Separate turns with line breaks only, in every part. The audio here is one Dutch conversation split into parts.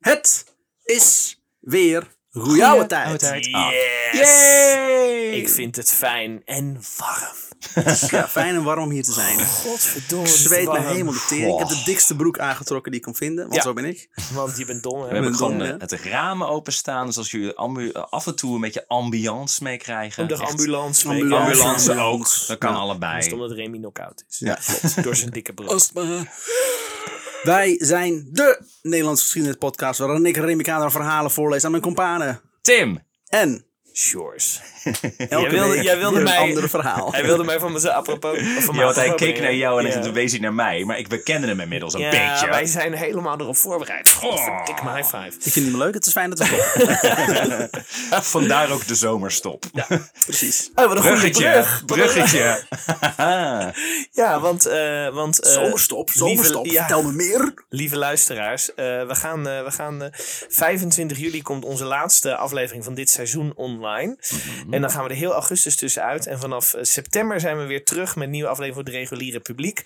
Het is weer goeie oude tijd.
Ah.
Yes!
Ik vind het fijn en warm.
Ja, fijn en warm om hier te zijn. Ik
Godverdomme. Oh, het is
zweet me
warm.
helemaal de tering. Ik heb de dikste broek aangetrokken die ik kon vinden, want
Ja.
zo ben ik.
Want je bent dom,
We
hè?
hebben
Met een
gewoon
dom,
eh, het ramen openstaan, dus als jullie ambu- af en toe een beetje ambiance meekrijgen.
Om de
Echt-
ambulance mee.
Ambulance.
ambulance
Ambulance.
ook, dat kan
Ja.
Dat is
allebei.
omdat Remy knock-out is.
Ja.
Klopt, Door zijn dikke broek.
Astma. Wij zijn de Nederlandse geschiedenis podcast waarin ik Remy Kader verhalen voorlees aan mijn companen.
Tim,
En
Shores.
elke
Jij wilde-
week
jij wilde
weer
mij-
een andere verhaal.
Hij wilde mij van mijn apropos. Van
ja, want hij keek
brengen.
naar jou en
Ja.
toen wees hij naar mij, maar ik bekende hem inmiddels een
Ja,
beetje. Oh.
wij zijn helemaal erop voorbereid. Dikke maar high five.
Ik vind het niet meer leuk, het is fijn dat we het doen.
Vandaar ook de zomerstop.
Precies.
Oh, wat een
Bruggetje, bruggetje.
Ja, want... eh want eh,
Zomerstop, zomerstop.
lieve- ja.
Vertel me meer.
Lieve luisteraars, eh, we gaan, eh, we gaan eh, 25 juli komt onze laatste aflevering van dit seizoen online.
Mhm.
En dan gaan we er heel augustus tussenuit. En vanaf eh, september zijn we weer terug met nieuwe afleveringen voor het reguliere publiek.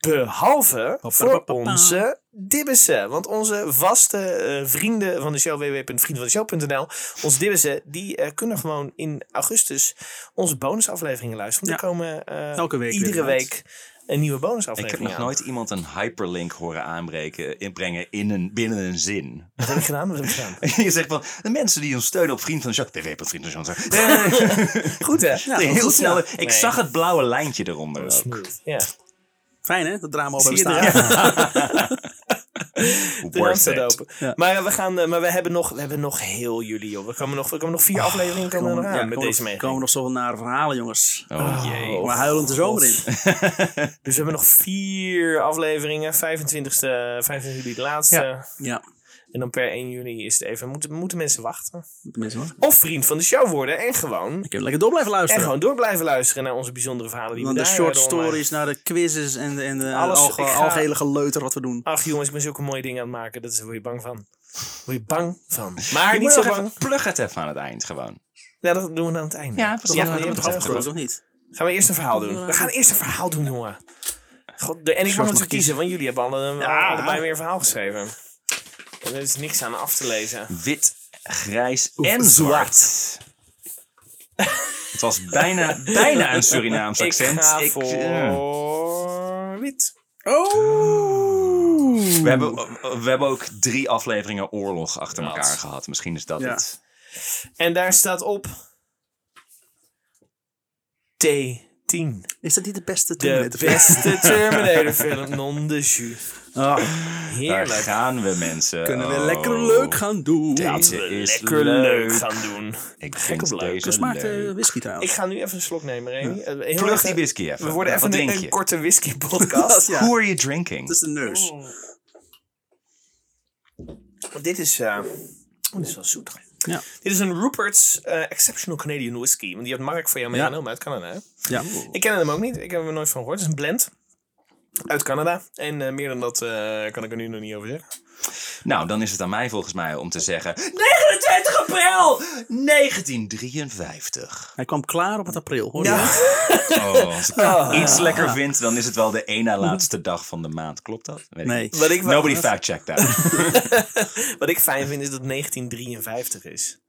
Behalve voor onze dibbissen. Want onze vaste eh, vrienden van de show, www.vriendenvandeshow.nl, onze dibbissen, die eh, kunnen gewoon in augustus onze bonusafleveringen luisteren. Want er komen eh,
Elke week
iedere
weer uit.
week een nieuwe
Ik
bonusaflevering
heb nog
aan.
nooit iemand een hyperlink horen aanbreken, inbrengen in een, binnen een zin.
Wat heb ik gedaan? Wat heb ik gedaan?
Je zegt van, de mensen die ons steunen op Vriend van de Show, www.vriend van de Show.
Goed hè?
Ja,
Nee,
dat
heel
is goed,
snel.
ja.
Ik
Nee.
zag het blauwe lijntje eronder. ook.
Ja.
Fijn hè, dat drama op hebben
Zie je
staan.
Worth
Amsterdam
it.
open. Maar, eh, we gaan, eh, maar we hebben nog, we hebben nog heel juli, joh. We komen nog, we komen nog vier afleveringen komen er nog aan
Ja,
met
komen
deze
nog-
mee.
komen nog zoveel nare verhalen, jongens. Ah,
Oh jee.
Maar huilend de zomer in.
Dus we hebben nog vier afleveringen. 25ste, 25 juli de laatste.
Ja,
En dan per 1 juni is het even. Moeten, moeten mensen wachten?
tenminste hoor.
Of vriend van de show worden en gewoon,
Ik heb lekker door blijven
en
luisteren.
gewoon door blijven luisteren naar onze bijzondere verhalen. oh, Die
Van
we
de
daar
short
hebben online.
stories naar de quizzes en de, eh, en de
Alles,
alge-
ik ga- Oh,
algehele geleuter wat we doen.
Ach jongens, ik ben zulke mooie dingen aan het maken. Dat is, daar word je bang van. Word je bang van. Maar
Maar
niet zo bang.
Plug het even aan het eind gewoon.
Ja, dat doen we aan het einde.
Ja, precies.
Ja,
Ja,
maar je
dat
hebt
wordt
het
goed.
Gelukkig niet.
Gaan we eerst een verhaal doen? We gaan eerst een verhaal doen, jongen. God, de, en ik mag
mag
natuurlijk kiezen, want jullie hebben alle, allebei weer een verhaal geschreven. En er is niks aan af te lezen.
Wit, grijs en zwart. het was bijna, bijna een Surinaams
Ik
accent.
ga
Ik- eh,
voor
ja.
wit.
Oh!
we, hebben, we hebben ook drie afleveringen oorlog achter
Wat?
elkaar gehad. Misschien is dat
Ja.
het.
En daar staat op T10.
Is dat niet de beste
De
Terminator film?
beste Terminator film, non de jus.
Oh.
Ah,
Daar
Heerlijk.
gaan we mensen.
kunnen we
Oh,
lekker leuk gaan doen.
Deze
We
is
Lekker leuk gaan doen.
Ik
op
vind
leuk.
deze
Dus smaakt eh,
leuk.
whisky
Ik
trouwens.
ga nu even een slok nemen, Remy. Eh, heel
Plug
even-
die whisky even.
We worden
Ja,
even een,
wat drink
een Dus-
je?
korte whisky podcast.
Ja.
Who are you drinking?
Dat is de neus.
Oh. Want dit is. eh, oh, dit is wel zoet.
Ja.
Dit is een Rupert's eh, Exceptional Canadian Whisky. Want die had Mark voor jou meegenomen uit Canada. hè?
ja.
Oh.
Ik ken hem ook niet. Ik heb er nooit van gehoord. Het is een blend. Uit Canada. En eh, meer dan dat eh, kan ik er nu nog niet over zeggen.
Nou, dan is het aan mij volgens mij om te zeggen... 29 april 1953.
Hij kwam klaar op het april, hoor je?
Oh, als ik iets lekker vind, dan is het wel de ene laatste dag van de maand. Klopt dat? Weet ik
Nee.
niet.
Wat ik, wel-
Nobody fact checked that.
wat ik fijn vind is dat het 1953 is.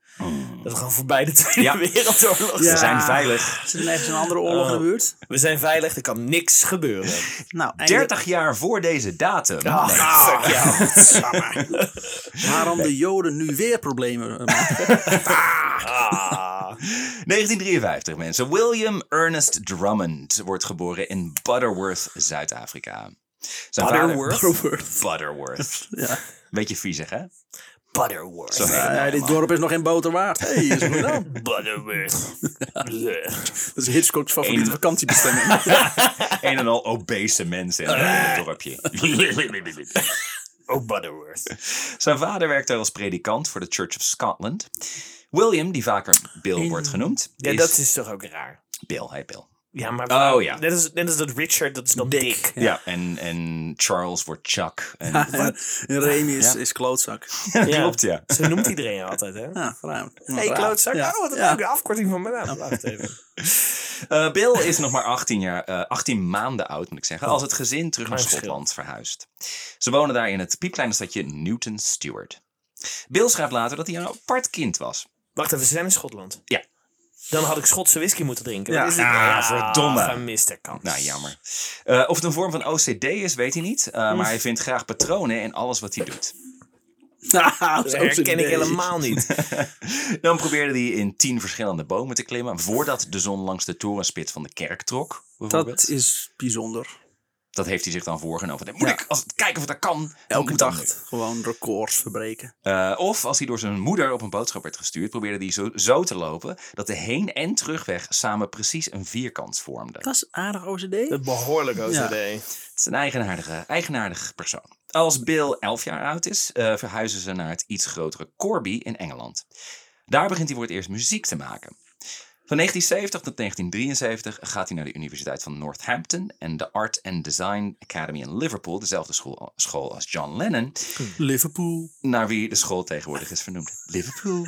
Dat we gewoon voorbij de Tweede
Ja.
Wereldoorlog
Ja.
We
zijn.
zijn veilig.
Zit er nergens een andere oorlog
Oh.
in de buurt?
We zijn veilig, er kan niks gebeuren.
Nou, eindelijk-
30 jaar voor deze datum. Nee.
Ah, fuck jou.
waarom de Joden nu weer problemen eh, maken?
1953 mensen. William Ernest Drummond wordt geboren in Butterworth, Zuid-Afrika. Zijn vader-
Butterworth?
Robert.
Butterworth.
Ja.
Beetje viezig, hè?
Butterworth.
Zo.
Ja, ja, dit dorp is nog geen boter waard. Hey, is goed dan.
Butterworth. Blech.
Dat is Hitchcock's favoriete
Eén-
vakantiebestemming.
Een en al obese mensen in het dorpje.
Oh, Butterworth.
Zijn vader werkt daar als predikant voor de Church of Scotland. William, die vaker Bill wordt genoemd,
Ja,
is...
dat is toch ook raar?
Bill, hij Bill.
Ja, maar
Oh, ja.
net, als, net als dat Richard, dat is dan Dick.
Ja. En, en Charles wordt Chuck. En...
En Remy is, is klootzak.
Ja.
Klopt, ja.
Zo noemt iedereen altijd, hè?
Ja, raar.
Hey,
Raar.
klootzak.
Hm. Ja.
Oh, wat een
Ja.
leuke afkorting van mijn naam. Wacht even.
Eh, Bill is nog maar 18, jaar, eh, 18 maanden oud, moet ik zeggen, als het gezin terug naar
Klein verschil.
Schotland verhuist. Ze wonen daar in het piepkleine stadje Newton Stewart. Bill schrijft later dat hij een apart kind was.
Wacht even, ze zijn in Schotland.
Ja.
Dan had ik Schotse whisky moeten drinken.
Ja.
Dat is het. nou?
Ah, verdomme.
Gemiste kans.
Nou, jammer. Eh, of het een vorm van OCD is, weet hij niet. Eh, Maar hij vindt graag patronen in alles wat hij doet.
Nou,
Dat
zo
herken ik
serieus.
helemaal niet.
Dan probeerde hij in tien verschillende bomen te klimmen. voordat de zon langs de torenspit van de kerk trok. Bijvoorbeeld.
Dat
Dat,
is bijzonder.
heeft hij zich dan voorgenomen. Dan Moet
Ja.
ik als, kijken of dat kan?
Elke
Moet dat
dag
nu.
gewoon records verbreken.
Eh, of als hij door zijn moeder op een boodschap werd gestuurd, probeerde hij zo, zo te lopen dat de heen- en terugweg samen precies een vierkant vormden.
Dat is aardig OCD.
Eh,
Dat behoorlijk OCD.
Het is een eigenaardige, eigenaardig persoon. Als Bill 11 jaar oud is, eh, verhuizen ze naar het iets grotere Corby in Engeland. Daar begint hij voor het eerst muziek te maken. Van 1970 tot 1973 gaat hij naar de Universiteit van Northampton en de Art and Design Academy in Liverpool, dezelfde school, school als John Lennon,
Liverpool.
naar wie de school tegenwoordig is vernoemd. Liverpool.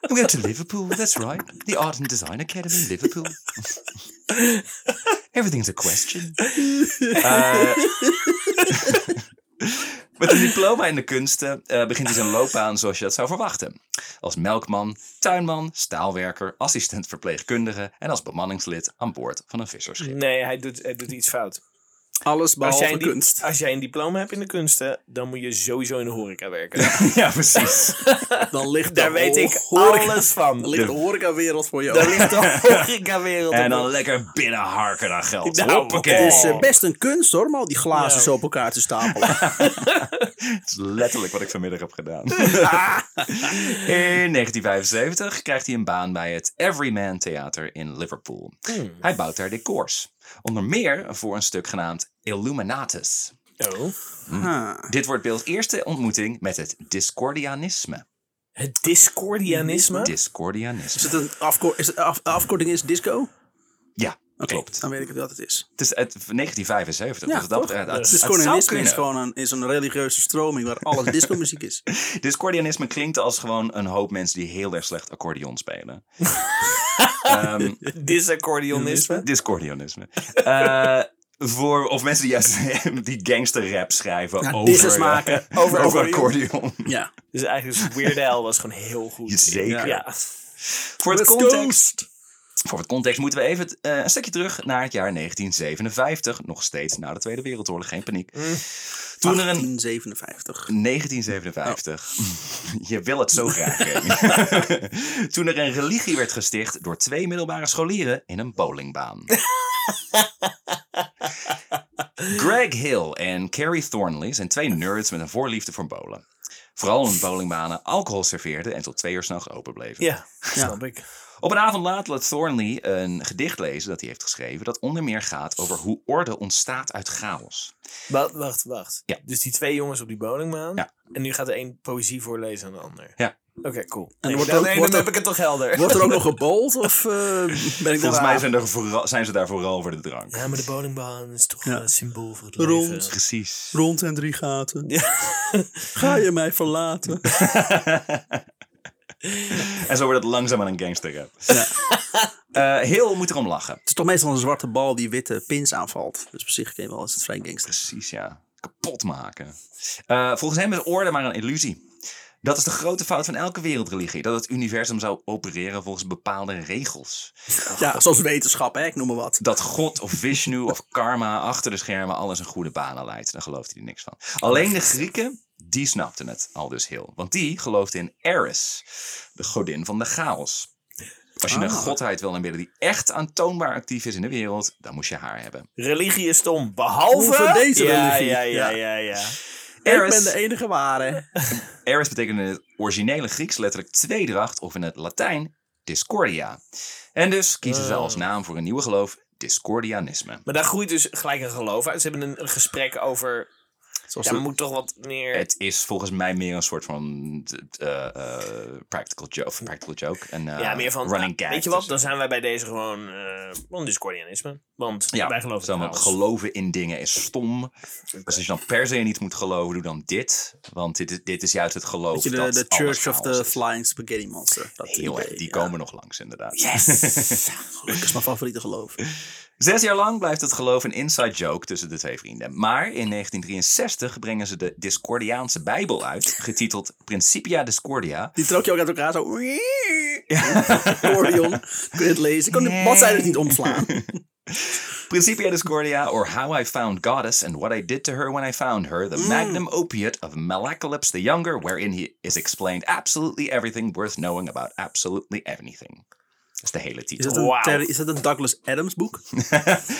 We go to Liverpool, that's right. The Art and Design Academy in Liverpool. Everything's a question. Eh, met een diploma in de kunsten eh, begint hij zijn loopbaan zoals je dat zou verwachten. Als melkman, tuinman, staalwerker, assistent verpleegkundige en als bemanningslid aan boord van een visserschip.
Nee, hij doet, hij doet iets fout.
Alles
Als
behalve
jij, een di-
kunst.
als jij een diploma hebt in de kunsten, dan moet je sowieso in de horeca werken.
Ja, precies.
Dan ligt
Daar
de
weet ik
horeca-
alles
Dan
van.
ligt de horecawereld voor jou.
Daar ligt de horecawereld
En
op.
dan lekker binnenharken naar geld.
Nou,
Hoppakee.
Het is eh, best een kunst hoor, om al die glazen
Nou.
zo op elkaar te stapelen.
Dat is letterlijk wat ik vanmiddag heb gedaan. in 1975 krijgt hij een baan bij het Everyman Theater in Liverpool.
Hmm.
Hij bouwt daar decors. Onder meer voor een stuk genaamd Illuminatus.
Oh.
Ah.
Dit wordt Bill's eerste ontmoeting met het Discordianisme.
Het discordianisme.
Is
Discordianisme.
het een afko- is het af- afkorting is disco?
Ja,
Oké,
klopt.
Dan weet ik wat het is.
Het is uit 1975.
Ja,
dus dat
toch?
betreft-
Dus
het- het zou
Discordianisme is
kunnen.
gewoon een, is een religieuze stroming waar alles disco-muziek is.
Discordianisme klinkt als gewoon een hoop mensen die heel erg slecht accordeon spelen. Ehm,
Discordianisme.
Discordianisme. Eh, voor, of mensen die juist die gangster rap schrijven
Ja,
over,
disses maken.
eh, over,
Over
accordeon.
Ja.
Dus eigenlijk Weird Al was gewoon heel goed.
Zeker.
Ja.
Voor, het
West
context, voor het context moeten we even eh, een stukje terug naar het jaar 1957. Nog steeds na de Tweede Wereldoorlog, geen paniek.
Mm.
Toen er een
1857.
1957.
Oh.
Je wil het zo graag. Remy. Toen er een religie werd gesticht door twee middelbare scholieren in een bowlingbaan. Greg Hill en Carrie Thornley zijn twee nerds met een voorliefde voor bowlen. Vooral omdat bowlingbanen alcohol serveerden en tot twee uur s'nachts open bleven.
Ja, snap ik.
Op een avond laat laat Thornley een gedicht lezen dat hij heeft geschreven dat onder meer gaat over hoe orde ontstaat uit chaos.
Wa- wacht, wacht.
Ja.
Dus die twee jongens op die bowlingbaan.
Ja.
En nu gaat de een poëzie voorlezen aan de ander.
Ja.
Oké, cool.
wordt
En wordt
er ook-
dan, nee,
wordt
dan
er-
heb ik het toch helder.
Wordt er ook nog gebold of eh, ben ik daar
Volgens mij zijn, er vooral, zijn ze daar vooral voor de drank.
Ja, maar de bowlingbaan is toch
Ja.
een symbool voor het
Rond.
leven.
Precies.
rond en drie gaten?
Ja.
Ga je mij verlaten?
En zo wordt het langzaam aan een gangster rap. Eh,
Ja.
heel moet erom lachen.
Het is toch meestal een zwarte bal die witte pins aanvalt. Dus op zich ken je wel als het vrij gangster.
Precies, ja. Kapot maken. Eh, volgens hem is orde maar een illusie. Dat is de grote fout van elke wereldreligie. Dat het universum zou opereren volgens bepaalde regels.
Ja, zoals wetenschap, hè? ik noem maar wat.
Dat God of Vishnu of karma achter de schermen alles een goede banen leidt. Daar gelooft hij er niks van. Alleen de Grieken, die snapten het al dus heel. Want die geloofden in Eris, de godin van de chaos. Als je een
Ah.
godheid wil aanbidden die echt aantoonbaar actief is in de wereld, dan moest je haar hebben.
Religie is stom, behalve...
Voor deze
ja,
religie.
Ja, ja, ja, ja.
Ik ben de e- enige ware.
Eris betekent in het originele Grieks letterlijk tweedracht of in het Latijn discordia. En dus kiezen ze
Oh.
als naam voor een nieuwe geloof discordianisme.
Maar daar groeit dus gelijk een geloof uit. Ze hebben een, een gesprek over...
Zoals
Ja, er
de-
moet toch wat meer...
Het is volgens mij meer een soort van eh, eh, practical joke. of Practical joke en, eh,
ja, meer van...
running
ah,
gag.
Weet je wat,
Dus-
dan zijn wij bij deze gewoon... eh van discordianisme. Want
ja,
wij geloven
zo
het
van,
chaos.
geloven in dingen is stom. Dus als je dan per se niet moet geloven, doe dan dit. Want dit, is- dit is juist het geloof
Weet je, de,
dat
de
alles
Church of
chaos
the
is.
Flying Spaghetti Monster. Dat
Heel
idee,
erg, die
ja.
komen nog langs inderdaad.
Yes! dat is mijn favoriete geloof.
Zes jaar lang blijft het geloof een inside joke tussen de twee vrienden. Maar in 1963 brengen ze de Discordiaanse Bijbel uit, getiteld Principia Discordia.
Die trok je ook uit elkaar zo. Accordeon. Kun je het lezen? Ik kon de bladzijde niet omslaan.
Principia Discordia, or How I Found Goddess and What I Did to Her When I Found Her,
Mm.
the magnum opiate of Malacalypse the Younger, wherein he is explained absolutely everything worth knowing about absolutely anything. Dat is de hele
Is dat
titel.
een,
Wauw.
Terry- is dat een Douglas Adams boek?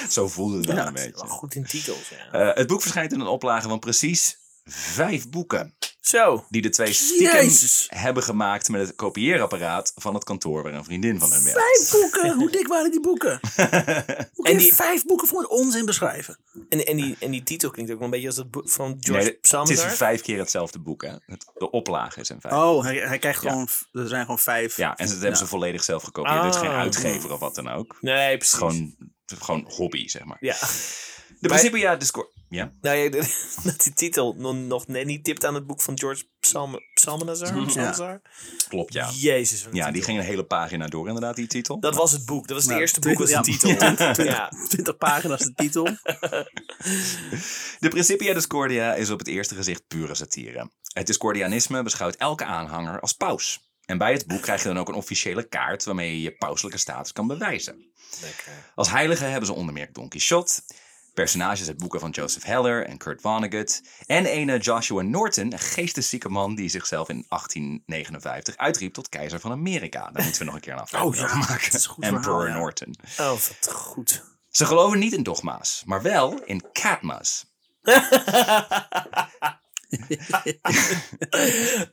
Zo voelde het
Ja,
een beetje.
Goed in titels, ja.
Eh, het boek verschijnt in een oplage van precies vijf boeken.
Zo.
Die de twee stiekem
Jezus.
hebben gemaakt met het kopieerapparaat van het kantoor waar een vriendin van hen werkt.
Vijf boeken? Hoe dik waren die boeken? Hoe kun je
En die-
vijf boeken voor het onzin beschrijven?
En, en, die, en die titel klinkt ook wel een beetje als dat boek van George
Nee, het
Psalms.
is vijf keer hetzelfde boek, hè? Het- De oplage is in vijf.
Oh, hij, hij krijgt gewoon... Er zijn gewoon vijf.
Ja, en dat hebben ze volledig zelf gekopieerd. Er is geen
Nou. Ah.
uitgever of wat dan ook.
Nee, precies.
Gewoon, gewoon hobby, zeg maar.
Ja.
De Principia Discord. Ja.
Nou ja, de- dat die titel nog, nog net niet tipt aan het boek van George Psalm, Psalmanazar. Psalmanazar?
Klopt, ja.
Jezus. wat een
Ja, die
titel.
ging een hele pagina door, inderdaad, die titel.
Dat was het boek. Dat was het
Nou,
eerste boek was de
ja.
titel. Ja.
20 pagina's de titel.
De Principia Discordia is op het eerste gezicht pure satire. Het Discordianisme beschouwt elke aanhanger als paus. En bij het boek krijg je dan ook een officiële kaart waarmee je je pauselijke status kan bewijzen. Als heilige hebben ze onder meer Don Quixote, personages uit boeken van Joseph Heller en Kurt Vonnegut, en ene Joshua Norton, een geesteszieke man die zichzelf in 1859 uitriep tot keizer van Amerika. Daar moeten we nog een keer een aflevering
Oh ja,
over maken.
dat is een goed
Emperor
verhaal, ja.
Norton.
Oh, wat goed.
Ze geloven niet in dogma's, maar wel in katma's.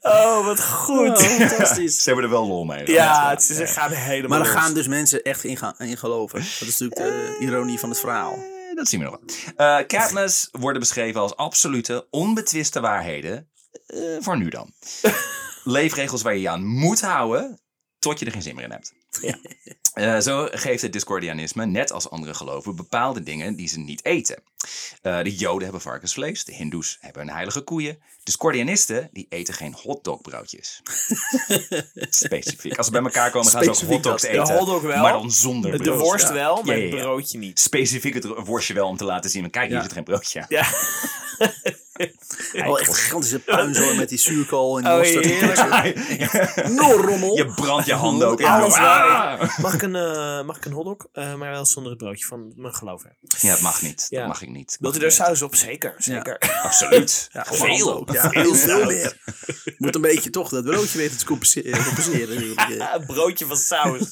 Oh, wat goed.
fantastisch.
Ze hebben er wel lol mee.
Ja, het is, ze gaan helemaal
Maar er
los.
gaan dus mensen echt in, gaan, in geloven. Dat is natuurlijk de eh, ironie van het verhaal.
Eh, Dat zien we nog wel. Eh Katniss worden beschreven als absolute, onbetwiste waarheden. eh, voor nu dan. Leefregels waar je je aan moet houden, tot je er geen zin meer in hebt. Eh, zo geeft het Discordianisme, net als andere geloven, bepaalde dingen die ze niet eten. Eh, de Joden hebben varkensvlees, de Hindoes hebben hun heilige koeien. Discordianisten, die eten geen hotdogbroodjes. Specifiek. Als ze bij elkaar komen, gaan ze ook
Specifiek
hotdogs
dat.
De
eten.
hotdog wel.
Maar dan zonder
de
broodjes.
worst
ja.
wel, maar
Ja, ja,
het
ja.
broodje niet.
specifiek het worstje wel om te laten zien. Maar kijk, hier
Ja.
zit geen broodje aan.
Ja.
Wel echt gigantische puinzooi met die zuurkool en die
Oh,
mosterd.
heerlijk.
Nul rommel.
Je brandt je handen ook in.
Alles
Ah!
Mag ik een, eh, mag ik een hotdog? Eh, maar wel zonder het broodje van mijn geloof. Hè.
Ja, dat mag niet.
Ja.
Dat mag ik niet.
Wilt u er saus op? Zeker, zeker.
Absoluut.
Gewoon
Veel.
ook, Ja, heel veel meer. Moet een beetje toch dat broodje weten te compenseren. compenseren natuurlijk.
Ah, een broodje van saus.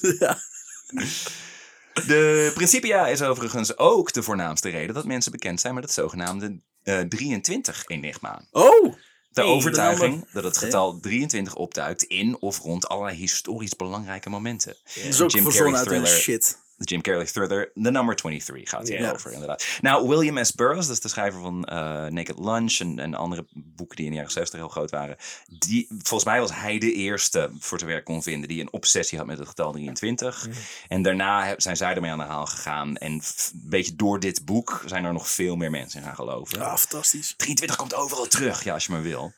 De Principia is overigens ook de voornaamste reden dat mensen bekend zijn met het zogenaamde eh 23-enigma.
Oh!
De
Hey,
overtuiging dat het getal 23 opduikt in of rond allerlei historisch belangrijke momenten.
Dat is ook
Jim
verzonnen
Carrey
uit een
thriller.
shit.
De Jim Carrey thriller, The Number 23 gaat hier
Ja.
over, inderdaad. Nou, William S. Burroughs, dat is de schrijver van eh, Naked Lunch en, en andere boeken die in de jaren 60 heel groot waren. Die, volgens mij was hij de eerste, voor zover ik kon vinden, die een obsessie had met het getal 23. En daarna he- zijn zij ermee aan de haal gegaan. En f- een beetje door dit boek zijn er nog veel meer mensen in gaan geloven.
Ja, fantastisch.
23 komt overal terug, ja, als je maar wil.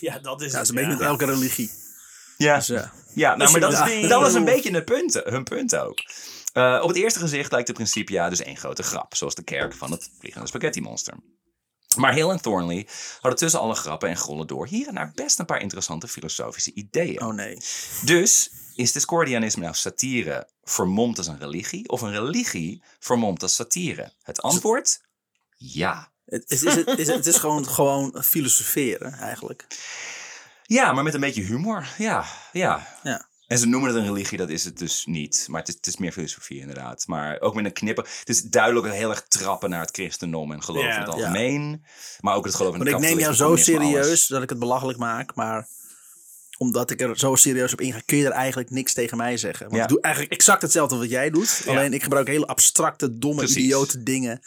Ja, dat
Ja,
is
dat
het.
is een beetje
ja.
met elke religie.
Ja,
Dus, ja.
Ja, nou,
je
maar dat,
dat
is,
wil.
dat was een beetje hun punt, hun punt ook. Eh, op het eerste gezicht lijkt de Principia dus één grote grap. Zoals de kerk van het vliegende spaghetti-monster. Maar Hill en Thornley hadden tussen alle grappen en grollen door... hier en daar best een paar interessante filosofische ideeën.
Oh nee.
Dus is Discordianisme nou satire vermomd als een religie... of een religie vermomd als satire? Het antwoord? Ja.
Het is, is, het, is, het- het is gewoon, gewoon filosoferen eigenlijk.
Ja, maar met een beetje humor. Ja, ja.
Ja.
En ze noemen het een religie, dat is het dus niet. Maar het is, het is meer filosofie inderdaad. Maar ook met een knippen. Het is duidelijk heel erg trappen naar het christendom en geloof
Ja.
in het
Ja.
algemeen. Maar ook het geloof in
Want
het
ik neem jou zo
kapitalisme, communisme,
serieus
alles.
dat ik het belachelijk maak, maar omdat ik er zo serieus op inga, kun je er eigenlijk niks tegen mij zeggen. Want
Ja.
ik doe eigenlijk exact hetzelfde wat jij doet. Alleen ik gebruik hele abstracte, domme,
Precies.
idiote dingen.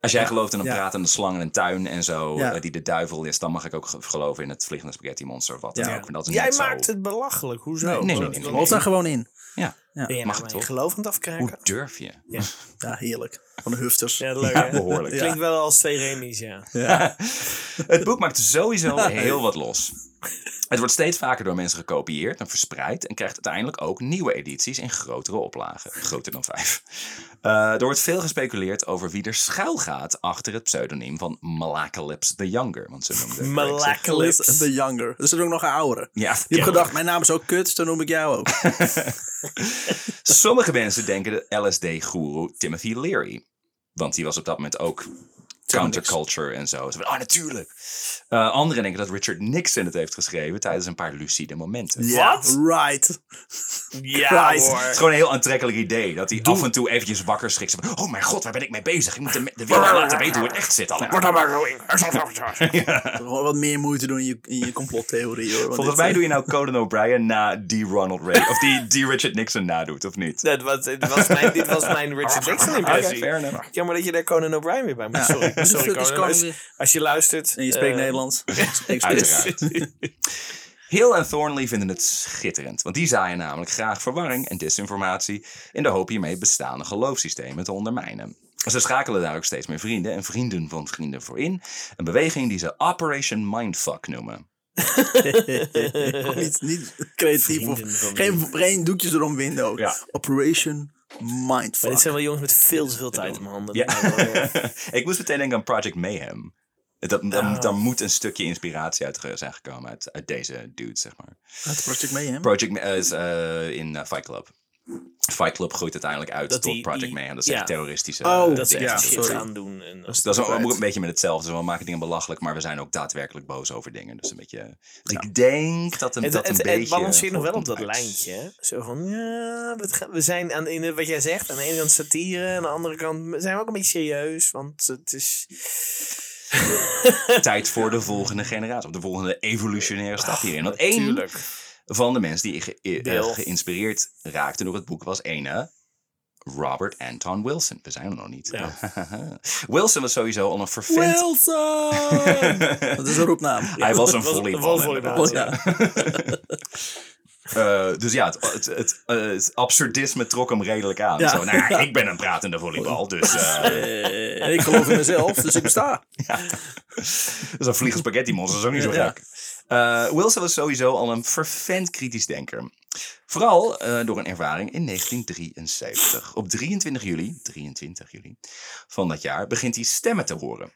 Als jij gelooft in een
Ja.
pratende slang en een tuin en zo,
Ja.
eh, die de duivel is, dan mag ik ook ge- geloven in het vliegende spaghetti monster of wat dan
Ja.
ook. Maar dat is
Jij
net zo.
maakt het belachelijk. Hoezo?
Nee, nee, nee,
Wat-
nee,
Geloof daar gewoon in.
Ja.
Ben je
Mag
nou
het
mijn
toch?
geloof aan het afkraken?
Hoe durf je?
Ja, heerlijk. Van de hufters.
Ja, leuk
Ja,
hè?
behoorlijk.
Klinkt wel als twee remies, ja.
Het boek maakt sowieso heel wat los. Het wordt steeds vaker door mensen gekopieerd en verspreid en krijgt uiteindelijk ook nieuwe edities in grotere oplagen, groter dan vijf. Eh, er wordt veel gespeculeerd over wie er schuil gaat achter het pseudoniem van Malakalypse the Younger, want ze noemde
Malacalypse.
Lips the Younger. Dus er ook nog een oudere.
Ja,
Je hebt gedacht, mijn naam is ook kut, dus dan noem ik jou ook.
Sommige mensen denken de LSD-goeroe Timothy Leary. Want die was op dat moment ook counterculture en zo. Ze van, oh, natuurlijk. Eh, anderen denken dat Richard Nixon het heeft geschreven tijdens een paar lucide momenten.
Ja,
Wat?
Right.
Ja
Christ.
Het is
hoor.
gewoon een heel aantrekkelijk idee. Dat hij af en toe eventjes wakker schrikt. Zo van, Oh mijn god, waar ben ik mee bezig? Ik moet de, de wereld laten weten hoe het echt zit allemaal.
Word dan maar going.
Gewoon wat meer moeite doen in je, in je complottheorie hoor. want
Volgens
dit,
mij
eh,
doe je nou Conan O'Brien na die Ronald Reagan. Of die, die Richard Nixon nadoet, of niet?
Dat was, dit, was mijn, dit was mijn Richard Nixon
Oké,
impressie.
fair enough.
Jammer dat je daar Conan O'Brien weer bij moet. Sorry,
de
sorry
fuck is Conan
Conan. Als, als je luistert.
En je spreekt
eh,
Nederlands. Ik spreek.
Uiteraard. Hill en Thornley vinden het schitterend, want die zaaien namelijk graag verwarring en disinformatie in de hoop hiermee bestaande geloofssystemen te ondermijnen. Ze schakelen daar ook steeds meer vrienden en vrienden van vrienden voor in, een beweging die ze Operation Mindfuck noemen.
niet, niet creatief. Of,
Vrienden van
geen, geen doekjes erom winden ook.
Ja.
Operation
Maar dit
Mindfuck.
zijn wel jongens met veel te veel tijd in mijn handen.
Ja. Ik moest meteen denken aan Project Mayhem. Dat, dan,
Oh.
dan moet een stukje inspiratie uit ge- zijn gekomen uit, uit deze dude, zeg maar.
Het project mee, hè?
Project Ma- eh, is eh, in eh, Fight Club. Fight Club groeit uiteindelijk uit
Dat
tot
die-
Project
die-
Mayhem. Dat zijn
ja.
terroristische
Oh,
eh,
Dat ze
dingen.
Ja,
echt shit
sorry.
gaan doen. En,
Dat is wel-
Right.
ook een beetje met hetzelfde. Dus we maken dingen belachelijk, maar we zijn ook daadwerkelijk boos over dingen. Dus een beetje. Dus ik denk dat een,
het,
dat een
het, het
beetje.
balanceert nog wel op dat
voortkomt uit-
lijntje. hè? Zo van, ja, wat ga- we zijn aan de ene, wat jij zegt, aan de ene kant satire, aan de andere kant zijn we ook een beetje serieus, want het is...
Tijd voor de volgende generatie, of de volgende evolutionaire stap hierin. Want één
Tuurlijk.
van de mensen die ge- eh,
Deel.
geïnspireerd raakten door het boek was ene Robert Anton Wilson. We zijn er nog niet. Wilson was sowieso al een vervent.
Wilson! dat is een roepnaam.
Hij was een
was-
volleyballer.
was een
inderdaad.
volleyballer.
Ja.
Eh, dus ja, het, het, het, eh, het absurdisme trok hem redelijk aan.
Ja.
Zo, nou, ja, ik ben een pratende volleybal, dus eh
Eh, en ik geloof in mezelf, dus ik besta.
dus een vliegend spaghetti monster is ook niet zo
Ja.
gek. Eh, Wilson was sowieso al een vervent kritisch denker. Vooral eh, door een ervaring in 1973. Op 23 juli, 23 juli van dat jaar begint hij stemmen te horen.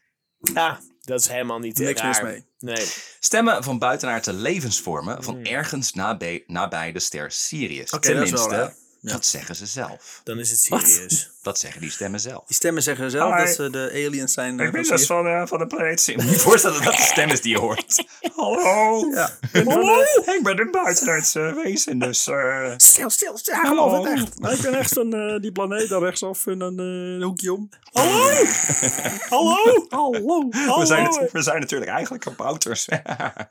Ja, dat is helemaal niet eh,
Niks
raar.
mis mee.
Nee.
Stemmen van buitenaardse levensvormen van ergens nabij, nabij de ster Sirius.
Hmm. Oké, dat is wel
Tenminste, dat,
raar. Ja.
zeggen ze zelf.
Dan is het serieus.
Dat zeggen die stemmen zelf.
Die stemmen zeggen zelf
Hi.
dat ze de aliens zijn. eh,
Ik ben
van
dus van, eh, van de planeet Sim. Moet je je voorstellen dat dat de stem is die je hoort. Hallo.
Ja.
Ik ben, eh, ik ben een buitenaardse wezen, dus... eh,
Stil, stil, stil. Ik geloof het echt.
Ik ben echt een, eh, die planeet daar rechtsaf in een eh, hoekje om.
Hallo!
Hallo!
we, zijn, nat- we zijn natuurlijk eigenlijk kabouters.
allemaal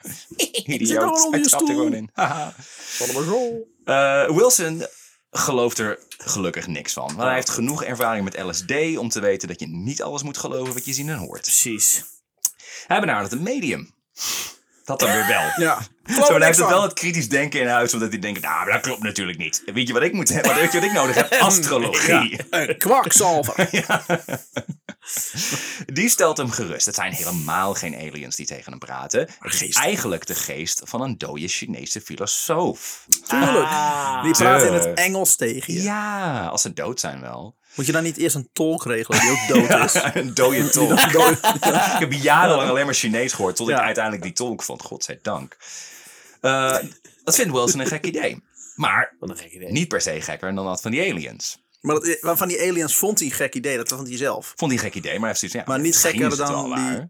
Idioot.
onder
Ik
je
snap
stoel.
er gewoon in. Haha.
zo.
Eh, Wilson gelooft er gelukkig niks van. Maar hij heeft genoeg ervaring met LSD om te weten dat je niet alles moet geloven wat je ziet en hoort.
Precies.
Hij benadert een medium. Dat dan weer wel.
Ja.
Zo, maar
Geloof
hij heeft
niks
het wel
van.
het kritisch denken in huis, omdat hij denkt, nou, maar dat klopt natuurlijk niet. Weet je wat ik moet hebben? Weet je wat ik nodig heb? Astrologie.
Een kwakzalver.
Die stelt hem gerust. Het zijn helemaal geen aliens die tegen hem praten. Het is
geesten.
eigenlijk de geest van een dode Chinese filosoof.
Tuurlijk.
Ah,
Die praten in het Engels tegen je.
Ja, als ze dood zijn wel.
Moet je dan niet eerst een tolk regelen die ook dood is?
Een dode tolk. ik heb jarenlang alleen maar Chinees gehoord, tot ik
Ja.
uiteindelijk die tolk vond. Godzijdank. Eh dat vindt Wilson een gek idee. Maar
Wat een gek idee.
niet per se gekker dan dat van die aliens.
Maar dat, maar van die aliens vond hij een gek idee, dat vond hij zelf.
Vond hij een gek idee, maar hij heeft zoiets van, ja,
Maar niet
misschien
gekker
is het
dan
wel
die-
waar.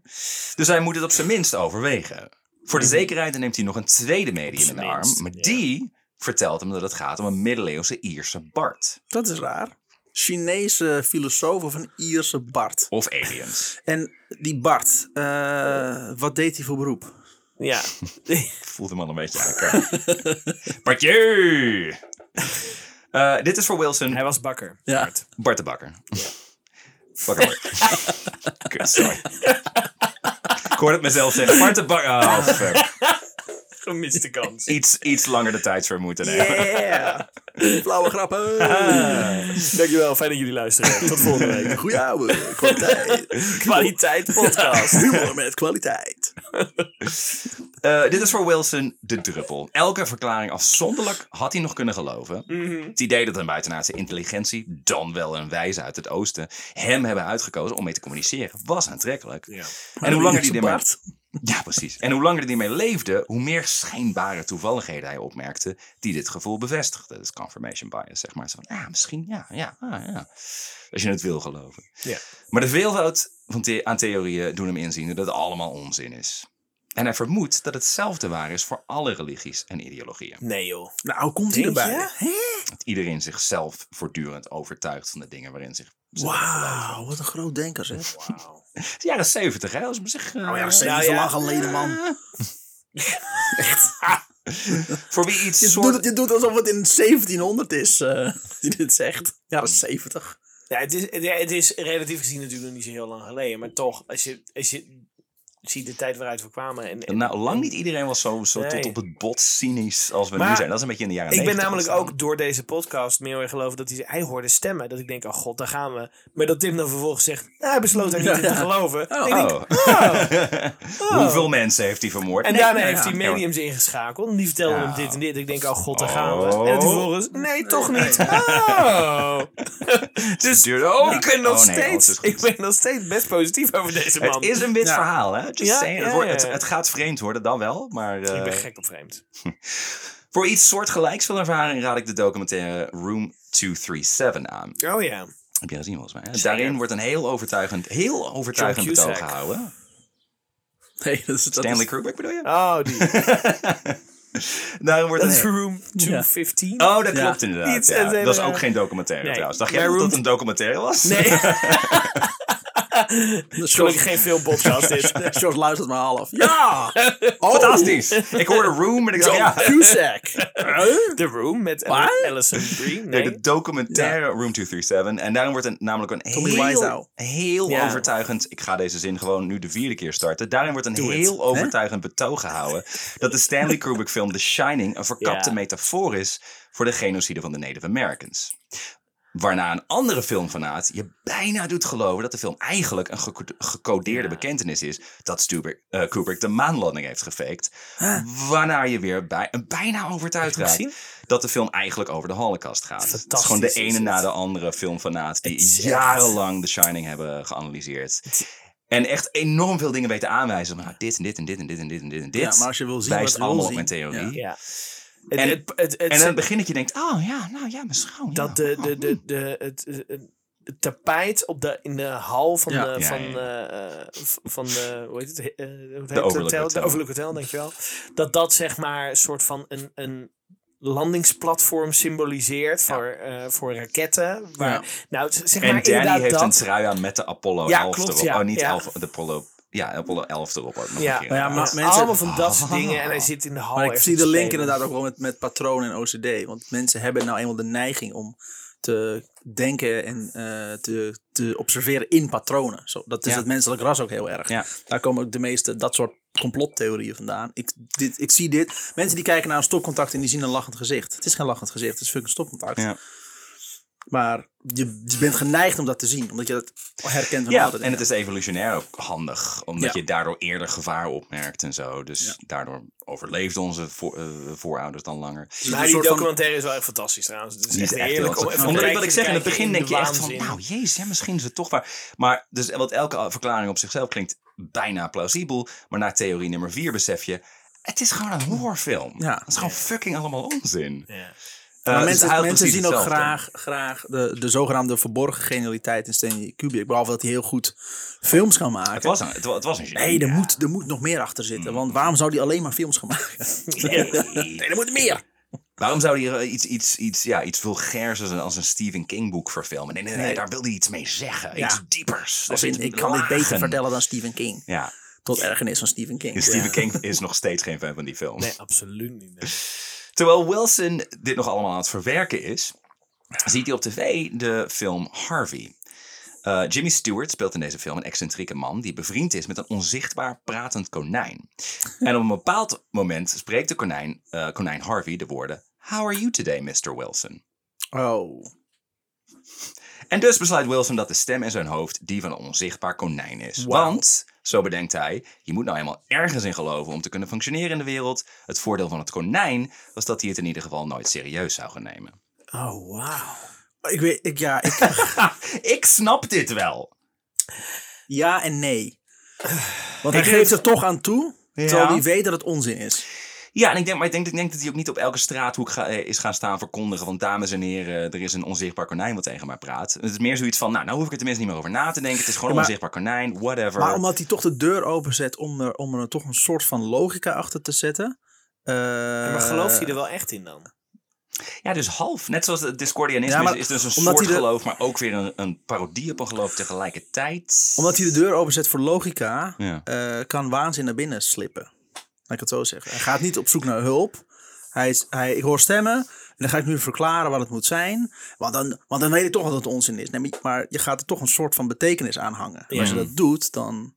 Dus hij moet het op zijn minst overwegen. Voor
Mhm.
de zekerheid neemt hij nog een tweede medium in
zijn
de arm.
minst,
Maar
ja.
die vertelt hem dat het gaat om een middeleeuwse Ierse Bart.
Dat is raar. Chinese filosoof of een Ierse Bart.
Of aliens.
En die Bart, eh, wat deed hij voor beroep?
Ja.
Ik voelde hem al een beetje aan elkaar. Bartje! Eh, dit is voor Wilson
Hij was bakker.
Ja.
Bart de Bakker. Bakker Bart. Kut, sorry. Ik hoorde het mezelf zeggen. Bart de Bakker. Oh, fuck.
Gemiste kans.
Iets, iets langer de tijd voor moeten nemen.
Yeah! Flauwe grappen!
Dankjewel, fijn dat jullie luisteren. Tot volgende week.
Goeie ouwe, kwaliteit.
Kwaliteit podcast.
Humor met kwaliteit.
Eh, dit is voor Wilson de druppel. Elke verklaring afzonderlijk had hij nog kunnen geloven.
Mhm.
Het idee dat een buitenaardse intelligentie, dan wel een wijze uit het oosten, hem hebben uitgekozen om mee te communiceren, was aantrekkelijk.
Ja.
En hoe langer die
Zijn
ermee...
baard.
Ja, precies. En hoe langer hij ermee leefde, hoe meer schijnbare toevalligheden hij opmerkte die dit gevoel bevestigden. Dus confirmation bias, zeg maar. Zo van, ja, misschien, ja, ja, ah, ja. Als je het wil geloven.
Ja.
Maar de veelvoud van the- aan theorieën doen hem inzien dat het allemaal onzin is. En hij vermoedt dat hetzelfde waar is voor alle religies en ideologieën.
Nee joh.
Nou, komt hij
Denk
erbij.
je?
Hè?
Dat iedereen zichzelf voortdurend overtuigt van de dingen waarin zich... ze geloven.
Wauw, wat een groot denker zeg.
Het is jaren zeventig, hè? Als op zich, eh,
Nou ja, dat is
Nou
zo
ja.
lang geleden man.
voor wie iets
Je,
soort...
doet het, je doet alsof het in 1700 is, eh die dit zegt. Ja, dat is 70.
Ja, het, is, ja, het is relatief gezien natuurlijk nog niet zo heel lang geleden. Maar toch, als je, als je ziet de tijd waaruit we kwamen. En, en-
Nou, lang niet iedereen was zo, zo
Nee.
tot op het bot cynisch als we nu
Maar
zijn. Dat is een beetje in de jaren
ik ben
90
namelijk
ontstaan.
ook door deze podcast meer in geloven dat hij, hij hoorde stemmen. Dat ik denk, oh god, daar gaan we. Maar dat Tim dan vervolgens zegt, nou, hij besloot daar niet in te geloven. Dan denk ik,
Oh. Hoeveel mensen heeft hij vermoord?
Oh. En
Nee,
daarna
nou
heeft
ja.
hij mediums ingeschakeld. En die vertelden
Ja.
hem dit en dit. Ik denk, oh god, daar
Oh.
gaan we. En vervolgens, nee, toch niet. Oh. Dus
duurde ook.
ik ben nog
Oh, nee, alles is
steeds,
goed.
ik ben nog steeds best positief over deze man.
Het is een wit
Ja.
verhaal, hè? Just
Ja,
saying.
ja,
het, wordt-
ja, ja.
Het, het gaat vreemd worden, dan wel. Maar eh,
Ik ben gek op vreemd.
voor iets soortgelijks van ervaring raad ik de documentaire Room 237 aan.
Oh ja.
Heb je gezien, volgens mij. hè?
Zeker.
Daarin wordt een heel overtuigend, heel overtuigend
John
betoog
Cusack.
gehouden.
Nee, dat is... Dat
Stanley
is,
Kubrick bedoel je?
Oh, die.
Daarin wordt
Dat
een
is Room 215.
Oh, dat
Ja.
klopt inderdaad.
Iets-
ja.
het- het-
Dat is
eh,
ook geen documentaire
nee.
trouwens. Dacht jij
Bij
dat
Room-
het een documentaire was?
nee.
Dat is gelukkig geen filmpodcast dit.
George luistert maar half. Ja!
Oh. Fantastisch. Ik hoorde Room en ik dacht, oh,
John
ja,
Cusack.
The Room met
Waar?
Alison Brie.
Nee,
Nee.
de documentaire Room 237. En daarom wordt het namelijk een
Tommy
heel,
Wiseau.
heel
Ja.
overtuigend... Ik ga deze zin gewoon nu de vierde keer starten. Daarin wordt een heel overtuigend betoog gehouden... dat de Stanley Kubrick film The Shining... een verkapte
Ja.
metafoor is voor de genocide van de Native Americans. Waarna een andere filmfanaat je bijna doet geloven... dat de film eigenlijk een geco- gecodeerde bekentenis is... dat Stuber- eh, Kubrick de maanlanding heeft gefaked. Waarna je weer bij, bijna overtuigd raakt
gezien?
dat de film eigenlijk over de Holocaust gaat. Het is
Fantastisch
gewoon de
is
ene
het.
na de andere filmfanaat die
is echt-
jarenlang The Shining hebben geanalyseerd. En echt enorm veel dingen weten aanwijzen. Maar dit en dit en dit en dit en dit en dit en dit.
Ja, maar als je wil zien
wijst
wat je wil
allemaal op
zien,
mijn theorie.
Ja.
En-
En het, het, het,
En aan het begin dat je denkt, oh ja, nou ja, mijn schouw.
dat de, de, de, de, het, eh, het tapijt op de, in de hal van,
Ja.
de,
Ja,
van,
ja,
eh, v- van de, hoe heet het? eh, hoe heet het
Overlook
hotel?
Hotel.
De Overlook Hotel, dankjewel. Dat dat zeg maar een soort van een, een landingsplatform symboliseert voor, eh, voor raketten. Waar,
Ja.
Nou, het- zeg maar
En Danny
inderdaad
heeft
dat.
een trui aan met de Apollo
Ja,
11
klopt,
erop.
ja,
oh, niet
ja.
Alpha- de Apollo, ja, Apollo 11 erop. Ook nog
Ja.
een keer.
Nou
ja, maar-
Ja,
mensen-
allemaal van dat
Oh.
soort dingen. En hij zit in de hal.
Maar ik
ergens
zie
te
de link
spelen.
inderdaad ook wel met, met patroon en OCD. Want mensen hebben nou eenmaal de neiging om te denken en eh, te, te observeren in patronen. Zo, dat is
Ja.
het menselijk ras ook heel erg.
Ja.
Daar komen ook de meeste dat soort complottheorieën vandaan. Ik, dit, ik zie dit. Mensen die kijken naar een stopcontact en die zien een lachend gezicht. Het is geen lachend gezicht, het is fucking stopcontact.
Ja.
Maar je, je bent geneigd om dat te zien, omdat je dat herkent van
Ja,
andere
en het
dingen.
is evolutionair ook handig, omdat
Ja.
je daardoor eerder gevaar opmerkt en zo. Dus daardoor overleefden onze voor- eh, voorouders dan langer.
Het is een
Maar die
soort van-
documentaire is wel echt fantastisch trouwens. Het is
Die
echt
is echt heel
heerlijk om
interessant.
even
Omdat
kijken
wat
te
ik zeg, in het
kijken
begin denk
de
je echt van,
waanzin.
nou jezus, ja, misschien is het toch waar. Maar, dus, want elke verklaring op zichzelf klinkt bijna plausibel. Maar na theorie nummer vier besef je, het is gewoon een horrorfilm.
Ja.
Het is gewoon fucking allemaal onzin.
Ja.
Eh,
Maar
dus het
mensen,
houdt
mensen
precies
zien ook
hetzelfde.
graag, graag de, de zogenaamde verborgen genialiteit in Stanley Kubrick. Behalve dat hij heel goed films kan maken.
Het was een, het, wa- het was een
nee, er,
ja. Mm.
moet, er moet nog meer achter zitten. Want waarom zou hij alleen maar films gaan maken?
Nee.
Nee, er moet meer.
Waarom zou hij eh, iets, iets, iets, ja, iets vulgairs als een, als een Stephen King boek verfilmen? Nee, nee, nee,
Nee.
daar wil hij iets mee zeggen.
Ja.
Iets diepers.
Als
Er
in,
zit
ik kan dit
lagen.
beter vertellen dan Stephen King.
Ja,
Tot ergernis van Stephen King.
en Stephen
Ja.
King is nog steeds geen fan van die film.
Nee, absoluut niet. nee.
Terwijl Wilson dit nog allemaal aan het verwerken is, ziet hij op tv de film Harvey. Eh, Jimmy Stewart speelt in deze film een excentrieke man die bevriend is met een onzichtbaar pratend konijn. En op een bepaald moment spreekt de konijn, eh, konijn Harvey de woorden: How are you today, Mr. Wilson?
Oh.
En dus besluit Wilson dat de stem in zijn hoofd die van een onzichtbaar konijn is. Want Zo bedenkt hij, je moet nou eenmaal ergens in geloven om te kunnen functioneren in de wereld. Het voordeel van het konijn was dat hij het in ieder geval nooit serieus zou gaan nemen.
Oh, wauw.
Ik weet, ik, ja, ik,
Ha, ik snap dit wel.
ja en nee. Want hij
Ik-
geeft er toch aan toe, terwijl hij weet dat het onzin is.
Ja, en ik denk, maar ik denk, ik denk dat hij ook niet op elke straathoek ga- eh, is gaan staan verkondigen van dames en heren, er is een onzichtbaar konijn wat tegen mij praat. Het is meer zoiets van, nou, nou hoef ik er tenminste niet meer over na te denken. Het is gewoon
Ja, maar-
een onzichtbaar konijn, whatever.
Maar omdat hij toch de deur openzet om er, om er toch een soort van logica achter te zetten. eh,
maar gelooft hij er wel echt in dan?
Ja, dus half. Net zoals het Discordianisme
Ja, maar
is, is dus een
omdat
soort
hij de-
geloof, maar ook weer een, een parodie op een geloof tegelijkertijd.
Omdat hij de deur openzet voor logica,
Ja.
eh, kan waanzin naar binnen slippen. Laat ik het zo zeggen. Hij gaat niet op zoek naar hulp. Hij is, hij, ik hoor stemmen en dan ga ik nu verklaren wat het moet zijn. Want dan, want dan weet ik toch dat het onzin is. Nee, maar- maar je gaat er toch een soort van betekenis aan hangen. En Als je dat doet, dan...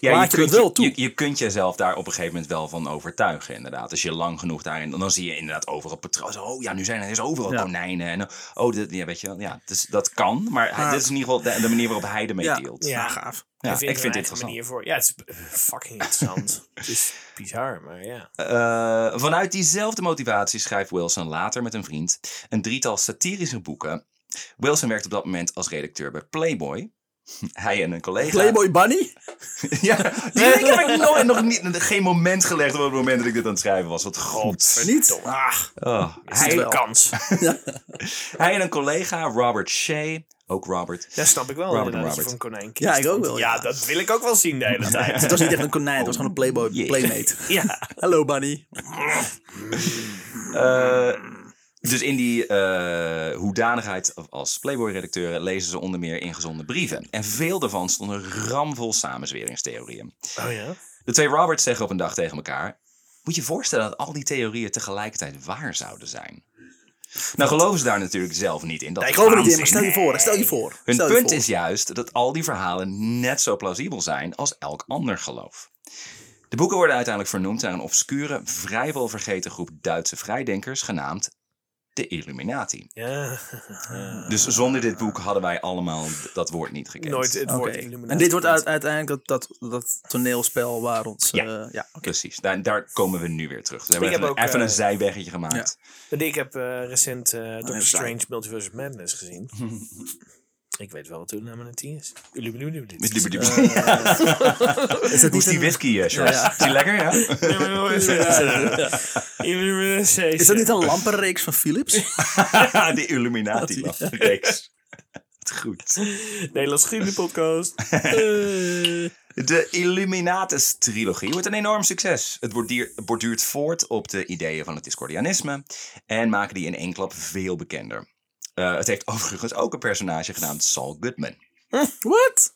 Ja,
Laat je
kunt
dat wel toe.
Je, je kunt jezelf daar op een gegeven moment wel van overtuigen, inderdaad. Als je lang genoeg daarin... Dan zie je inderdaad overal patronen. Zo, Oh ja, nu zijn er dus overal
Ja.
konijnen. En, oh, dit, ja, weet je wel. Ja, dus, dat kan. Maar hij-
Maar-
dit is in ieder geval de, de manier waarop hij ermee
Ja.
deelt.
Ja.
Ja, gaaf.
Ja,
Hij er
ik vind dit
een eigen
interessant.
manier voor. Ja, het is eh, fucking interessant. het is bizar, maar ja.
Eh, vanuit diezelfde motivatie schrijft Wilson later met een vriend een drietal satirische boeken. Wilson werkt op dat moment als redacteur bij Playboy. Hij en een collega.
Playboy Bunny?
Ja, die link heb ik nooit, nog niet, geen moment gelegd op het moment dat ik dit aan het schrijven was. Wat god.
Niet? Ah,
Oh,
Hij
hij,
een kans.
hij en een collega, Robert Shea, ook Robert,
Dat snap ik wel.
Robert en
inderdaad, dat je
Robert.
voor een konijn kiest.
Ja, ik ook
want
wel,
Ja,
ja.
dat wil ik ook wel zien de hele tijd.
het was niet echt een konijn, het was gewoon een Playboy
jee.
Playmate.
ja.
Hallo Bunny.
Eh, dus in die eh, hoedanigheid als Playboy-redacteuren lezen ze onder meer ingezonden brieven. En veel daarvan stonden ramvol samenzweringstheorieën.
Oh ja?
De twee Roberts zeggen op een dag tegen elkaar... Moet je je voorstellen dat al die theorieën tegelijkertijd waar zouden zijn? Nou geloven ze daar natuurlijk zelf niet in. Dat
Ik
is
geloof er niet in, maar
waanzin.
stel je voor, stel je voor.
Hun
stel je
punt
voor.
is juist dat al die verhalen net zo plausibel zijn als elk ander geloof. De boeken worden uiteindelijk vernoemd naar een obscure, vrijwel vergeten groep Duitse vrijdenkers genaamd de Illuminati.
Ja.
Dus
Ah.
zonder dit boek hadden wij allemaal dat woord niet gekend.
Nooit het
Dus- Oké.
woord illuminatie.
En dit wordt uit- uiteindelijk dat, dat, dat toneelspel waar ons...
Ja.
eh, ja.
Precies, daar, daar komen we nu weer terug. Dus we hebben
heb
even,
ook,
even
eh,
een zijweggetje gemaakt.
Want Ik heb eh, recent eh Doctor
even
Strange Multiverse of Madness gezien. ik weet wel wat de naam is. Illuminatie.
Met die- die-
Eh,
die-
Is dat
Hoe is die
een-
whisky, eh, Charles?
Ja, ja.
Is die lekker, ja?
Illuminatie.
Is dat niet een lampenreeks van Philips?
de Illuminati. man. Reeks. Wat Goed.
Nederlands Grimmie podcast. Eh.
De Illuminatus-trilogie wordt een enorm succes. Het bordier- borduurt voort op de ideeën van het Discordianisme en maken die in één klap veel bekender. Eh, het heeft overigens ook een personage genaamd Saul Goodman.
Wat?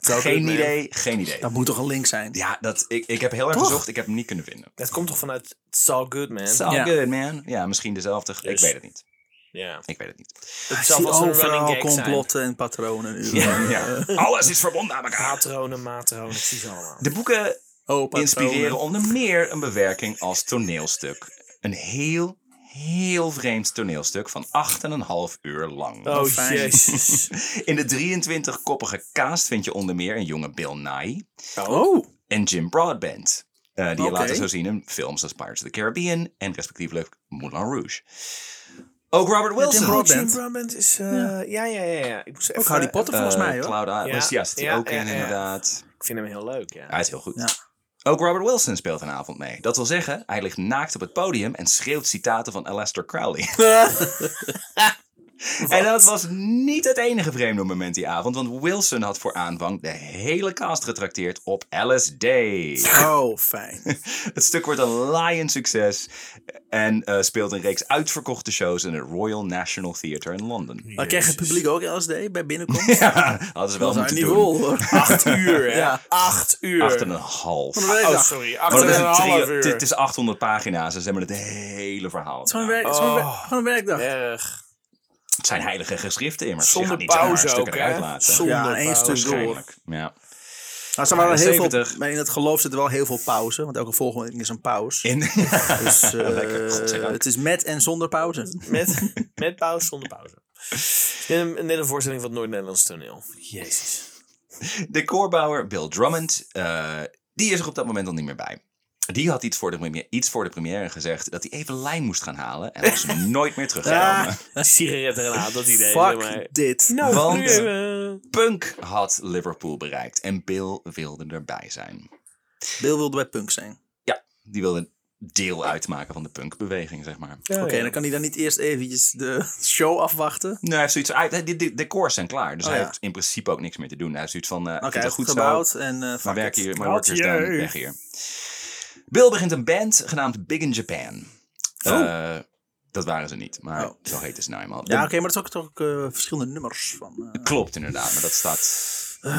Geen idee, geen idee.
Dat moet toch een link zijn?
Ja, dat, ik, ik heb heel erg
Toch?
gezocht, ik heb hem niet kunnen vinden.
Dat komt toch vanuit Saul Goodman?
Saul
Ja.
Goodman, ja, misschien dezelfde. Ik
Dus-
weet het niet.
Ja.
Ik weet het niet.
Het
Ah, Ik
zal
zie
wel zo'n running
overal
gag zijn.
complotten en Oh, patronen. nu.
Ja. Alles is verbonden aan elkaar.
Patronen, matronen, ik zie ze allemaal.
De boeken
Oh, patronen.
inspireren onder meer een bewerking als toneelstuk. Een heel, heel vreemd toneelstuk van 8,5 uur lang.
Oh,
fijn.
jezus.
In de 23-koppige kaast vind je onder meer een jonge Bill Nye
Oh,
en Jim Broadbent. eh, die je
Oké.
later zou zien in films als Pirates of the Caribbean en respectievelijk Moulin Rouge. Ook Robert Wilson.
Jim
Jim
Broadbent.
Broadbent is... eh, ja. ja, ja, ja, Ik moest even...
Ook Oh, Harry Potter
eh,
volgens mij hoor.
Cloud Atlas, ja,
Ja,
zit hij
ja,
ook
ja,
in
ja.
inderdaad.
Ik vind hem heel leuk, ja.
Hij is heel goed.
Ja.
Ook Robert Wilson speelt een avond mee. Dat wil zeggen, hij ligt naakt op het podium en schreeuwt citaten van Aleister Crowley.
Ah.
En dat was niet het enige vreemde moment die avond, want Wilson had voor aanvang de hele cast getrakteerd op LSD.
Oh, fijn.
Het stuk wordt een laaiend succes en eh, speelt een reeks uitverkochte shows in het Royal National Theatre in Londen.
Maar kreeg het publiek ook LSD bij binnenkomst?
Ja, hadden ze wel
Dat is
moeten
een niet
doen.
vol hoor.
Acht uur, hè?
Ja.
Acht uur.
Acht en een half.
Oh, sorry. Acht
Maar
en
dat is
een
een
half
trio- het,
uur.
het is 800 pagina's en ze hebben het hele verhaal.
Zo'n
gedaan.
werk, zo'n wer-
Oh.
gewoon een werkdag.
Erg.
Het zijn heilige geschriften immers.
Zonder
je gaat niet zomaar
pauze
stukken
ook,
eruit
hè?
laten.
Zonder
Ja, één
pauze.
stuk door.
Waarschijnlijk. Ja.
Maar, ze waren
Ja,
heel veel,
70.
maar in het geloof zitten wel heel veel pauzen. Want elke volgende is een pauze.
In,
Dus eh,
Lekker, godzijdank.
het is met en zonder pauze.
Met, met pauze, zonder pauze. Net een, net een voorstelling van het Noord-Nederlands toneel. Jezus.
Decorbouwer Bill Drummond, eh, die is er op dat moment al niet meer bij. Die had iets voor de première, iets voor de première gezegd dat hij even lijn moest gaan halen. En dat ze nooit meer terugkomen.
Sigaretten en aan, dat idee. zeg maar.
Fuck dit.
Nou,
Want-
nu, eh,
Punk had Liverpool bereikt en Bill wilde erbij zijn.
Bill wilde bij punk zijn.
Die wilde deel uitmaken van de punkbeweging, zeg maar.
ja,
Oké,
ja.
dan kan hij dan niet eerst eventjes de show afwachten.
Nou, hij heeft zoiets. Hij, de, de decors zijn klaar, dus
Oh,
hij
ja.
heeft in principe ook niks meer te doen. Hij heeft zoiets van: eh,
Oké,
vindt het
goed
zo,
gebouwd en eh
Maar
fuck
werk
it.
hier, mijn
Had
workers dan
je.
weg hier. Bill begint een band genaamd Big in Japan. Eh, dat waren ze niet, maar
Oh.
zo heet ze nou eenmaal.
Ja, oké,
De-
maar er zijn ook, toch ook eh, verschillende nummers van. eh
Klopt inderdaad, maar dat staat.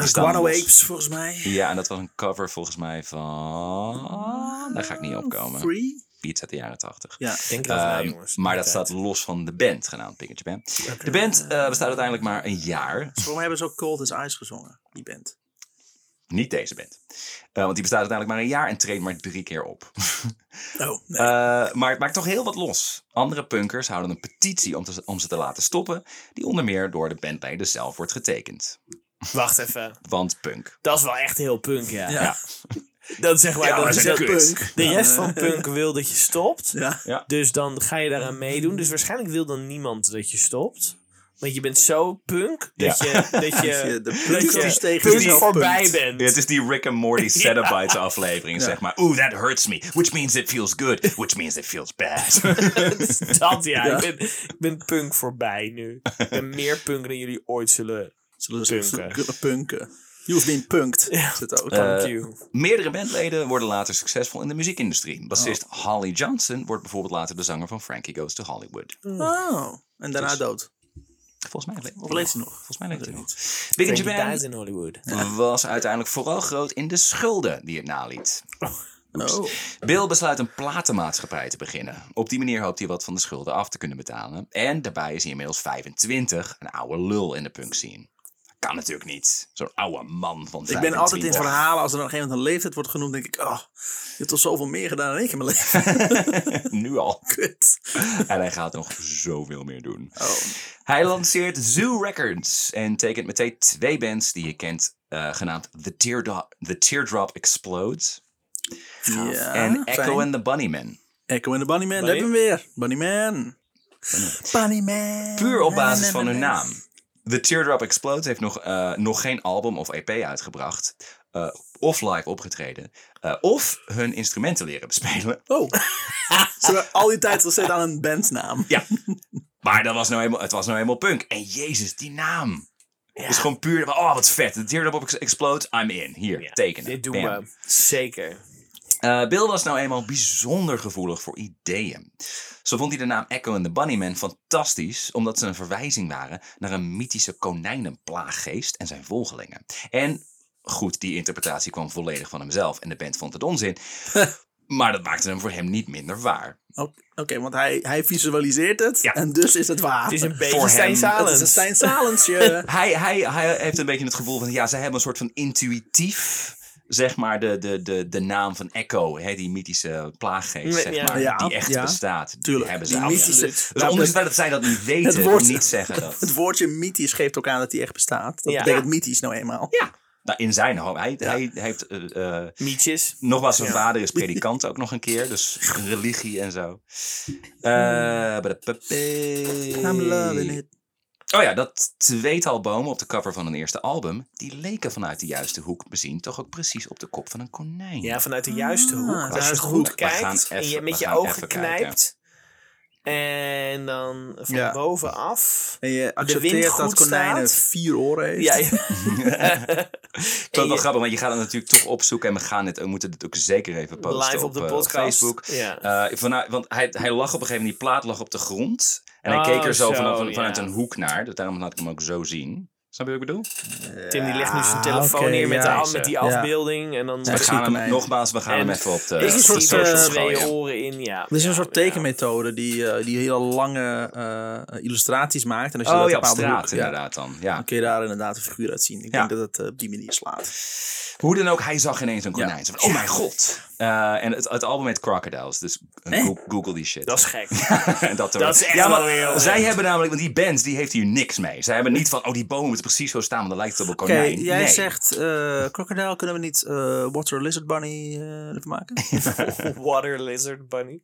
die staan
Guano
los.
Apes, volgens mij.
Ja, en dat was een cover volgens mij van. Ah, Daar ga ik niet op komen.
Free?
Beats uit de jaren 80.
Ja.
Denk erover na,
Ehm,
jongens.
maar dat staat los van de band genaamd Big in Japan. De band eh, bestaat uiteindelijk maar een jaar.
Volgens mij hebben ze ook Cold as Ice gezongen, die band.
Niet deze band. Eh, want die bestaat uiteindelijk maar een jaar en treedt maar drie keer op.
Oh, nee.
Eh, maar het maakt toch heel wat los. Andere punkers houden een petitie om, te- om ze te laten stoppen, die onder meer door de bandleden zelf wordt getekend.
eh, Wacht even.
Want punk.
Dat is wel echt heel punk, ja.
Ja.
Dat zeg maar,
Ja,
dat
maar
is
dat
dat
is kut.
punk. De rest van punk wil dat je stopt.
ja.
Dus dan ga je daaraan meedoen. Dus waarschijnlijk wil dan niemand dat je stopt. Want je bent zo punk dat
Ja.
je, dat je,
de
dat
punk
je
is tegen
punk
jezelf
voorbij
punkt.
bent.
Ja, het is die Rick and Morty Cetabytes aflevering, zeg maar. Oeh, that hurts me. Which means it feels good. Which means it feels bad.
Dat ja, Ik, ben, ik ben punk voorbij nu. Ik ben meer punk dan jullie ooit zullen.
Zullen ze
Punken.
punken. punken. You've been punked.
Ja.
Is het ook.
Eh,
Thank you.
Meerdere bandleden worden later succesvol in de muziekindustrie. Bassist Holly Johnson wordt bijvoorbeeld later de zanger van Frankie Goes to Hollywood.
oh, en daarna
dus-
dood.
Volgens mij leeft
leeft hij nog?
Volgens mij leeft hij nog. Big in
Frankie
Japan
dies in Hollywood.
was uiteindelijk vooral groot in de schulden die het naliet.
Oh.
Bill besluit een platenmaatschappij te beginnen. Op die manier hoopt hij wat van de schulden af te kunnen betalen. En daarbij is hij inmiddels 25, een oude lul in de punk scene. Kan natuurlijk niet. Zo'n oude man van 25.
Ik ben altijd in verhalen, als er dan op een gegeven moment een leeftijd wordt genoemd, denk ik, oh, je hebt al zoveel meer gedaan dan ik in mijn leven.
Nu al.
Kut.
En hij gaat nog zoveel meer doen.
Oh.
Hij lanceert Zoo Records en tekent meteen twee bands die je kent, eh, genaamd The, Teardrop, the Teardrop Explodes
Ja,
en
Ah, fijn.
Echo and the Bunnymen.
Echo en de Bunnyman, daar hebben we hem weer. Bunnyman. Bunnyman.
Puur op basis van hun naam. The Teardrop Explodes heeft nog, eh, nog geen album of EP uitgebracht. eh, of live opgetreden. eh, of hun instrumenten leren bespelen.
Oh. Ze hebben al die tijd gezet aan een bandnaam.
Ja. Maar dat was nou eenmaal, het was nou eenmaal punk. En jezus, die naam. Het is gewoon puur... Oh, wat vet. The Teardrop Ex- Explodes, I'm in. Hier, tekenen.
Dit doen
Bam.
we. Zeker.
Eh, Bill was nou eenmaal bijzonder gevoelig voor ideeën. Zo vond hij de naam Echo and the Bunnymen fantastisch, omdat ze een verwijzing waren naar een mythische konijnenplaaggeest en zijn volgelingen. En goed, die interpretatie kwam volledig van hemzelf en de band vond het onzin. Maar dat maakte hem voor hem niet minder waar.
Oké, oké, want hij, hij visualiseert het
Ja.
en dus is het waar.
Het is een
hem-
beetje Stijn
Het is een
Salens.
Stijn Salensje.
Hij, hij, hij heeft een beetje het gevoel van, ja, zij hebben een soort van intuïtief, zeg maar, de, de, de, de naam van Echo, hè, die mythische plaaggeest,
Ja,
zeg maar,
ja,
die echt
ja.
bestaat. Die
Tuurlijk,
hebben ze
die
allemaal.
mythische-
Dus ondanks het feit dat zij dat niet weten,
Het woord-
niet zeggen dat.
Het woordje mythisch geeft ook aan dat hij echt bestaat. Dat
Ja.
betekent mythisch nou eenmaal.
Ja. Nou, in zijn hoofd. Hij, hij heeft, eh, eh,
Mietjes.
nogmaals, zijn vader is predikant ook nog een keer. Dus religie en zo. Eh, badapape.
I'm loving it.
Oh ja, dat tweetal bomen op de cover van een eerste album... die leken vanuit de juiste hoek bezien toch ook precies op de kop van een konijn.
Ja, vanuit de juiste hoek.
de
Als je
juiste
goed
hoek. We
gaan
kijkt en
even-
je met
we
je
gaan
ogen
even kijken.
knijpt. En dan van
Ja.
bovenaf.
En je
wind
accepteert dat
goed
konijnen
staat.
vier oren heeft.
Ja,
Ik vond het wel
je-
grappig, want je gaat het natuurlijk toch opzoeken... en we, gaan dit, we moeten dit ook zeker even posten
live op de
eh,
podcast.
Facebook.
Ja.
Eh, vanuit, want hij, hij lag op een gegeven moment, die plaat lag op de grond. En hij
Oh,
keek er zo,
zo,
vanaf, van- vanuit
ja.
een hoek naar. Dus daarom laat ik hem ook zo zien. Dus Snap je wat ik bedoel?
Tim die legt nu zijn
Ah,
telefoon
oké,
neer met,
ja.
de, met die
Ja.
afbeelding. En dan
We
precies.
gaan hem,
nee.
nogmaals, we gaan
En-
hem even op de
er is een soort
socials
eh,
gooien.
twee oren in. Ja.
Er is een
Ja,
soort
ja.
tekenmethode die, eh, die hele lange eh, illustraties maakt. En als je
Oh
dat
ja, op
bepaalde
straat
hoek- ja,
inderdaad dan. Ja.
Dan kun je daar inderdaad een figuur uit zien. Ik
Ja.
denk dat het eh, op die manier slaat.
Hoe dan ook, hij zag ineens een konijn. Zo van, oh mijn god. Eh, en het, het album heet Crocodiles, dus go- google die shit.
Dat is gek.
En dat,
dat is echt
ja, maar
wel weer heel
zij hebben namelijk, want die band, die heeft hier niks mee. Zij hebben niet van, oh die bomen precies zo staan, want dan lijkt het op een
Oké,
konijn.
jij
Oh, nee.
zegt eh krokodil, kunnen we niet eh Water Lizard Bunny eh ervan maken?
Water lizard bunny.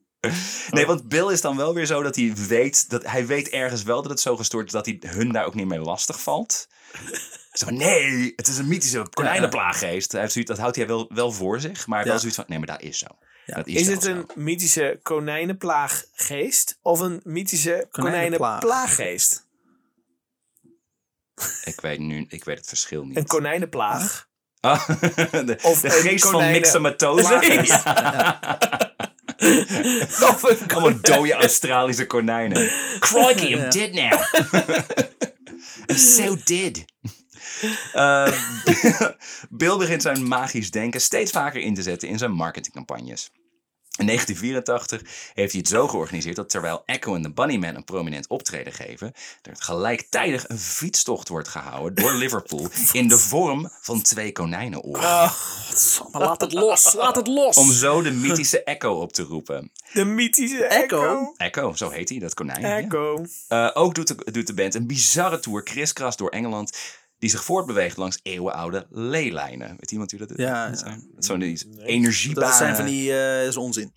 Nee,
Oh.
want Bill is dan wel weer zo dat hij weet... Dat, hij weet ergens wel dat het zo gestoord is dat hij hun daar ook niet mee lastig valt. Zo van, nee, het is een mythische konijnenplaaggeest. Hij heeft zoiets- Dat houdt hij wel, wel voor zich, maar wel
Ja.
zoiets van... Nee, maar dat is zo. Dat is
Is
wel
het
zo.
een mythische konijnenplaaggeest of een mythische
Konijnenplaag.
konijnenplaaggeest?
Ik weet nu... Ik weet het verschil niet.
Een konijnenplaag.
Ah, de,
Of
de
een
geest van
konijnen-
Mixamatosa.
Ja. Of een
Allemaal dode Australische konijnen. Crikey, I'm dead now. I'm so dead. Eh, Bill begint zijn magisch denken steeds vaker in te zetten in zijn marketingcampagnes. In 1984 heeft hij het zo georganiseerd dat terwijl Echo en de Bunnyman een prominent optreden geven, er gelijktijdig een fietstocht wordt gehouden door Liverpool in de vorm van twee konijnenoren.
Maar laat het los, laat het los.
Om zo de mythische Echo op te roepen.
De mythische
Echo?
Echo.
Echo, zo heet hij, dat konijn. ja.
Echo.
Eh, ook doet de, doet de band een bizarre tour kriskras door Engeland. Die zich voortbeweegt langs eeuwenoude leelijnen. Weet iemand wie dat is?
Ja,
Dat
ja.
zijn- dat Zo'n iets
Dat
energiebanen.
zijn van die, eh is onzin.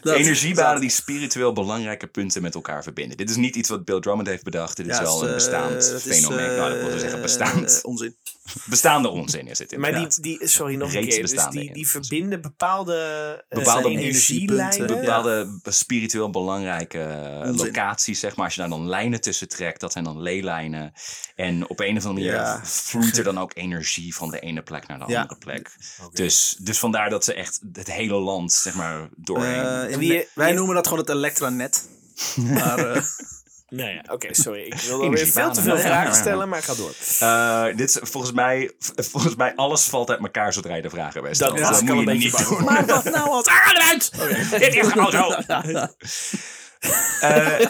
dat,
energiebanen die spiritueel belangrijke punten met elkaar verbinden. Dit is niet iets wat Bill Drummond heeft bedacht. Dit is
Ja,
wel
is,
een
eh,
bestaand
dat is,
fenomeen. nou, dat wil zo
eh,
zeggen bestaand.
eh, onzin.
bestaande onzin is dit.
Maar
inderdaad.
die, die, sorry, nog een
Reeds
keer. Dus
bestaande
die, die
echo's.
verbinden bepaalde, eh,
Bepaalde
energiepunten.
energielijnen.
bepaalde spiritueel belangrijke eh,
Onzin.
locaties, zeg maar. Als je daar dan lijnen tussen trekt, dat zijn dan leelijnen. En op een of andere manier
Ja.
vloeit er dan ook energie van de ene plek naar de
Ja.
andere plek. Dus, dus vandaar dat ze echt het hele land, zeg maar, doorheen.
Eh, in-
Die-
wij
die-
noemen dat gewoon het elektranet. maar eh,
Nou ja, oké, sorry. Ik wil alweer veel
Energiebanen.
te veel
Ja, ja,
vragen
ja.
stellen, maar ga door.
Eh, dit is volgens mij, v- volgens mij, alles valt uit elkaar zodra je de vragen bij stelt.
Dat was ik al een beetje bang
Maar wat nou als... Ah, eruit! Dit is gewoon zo! Eh,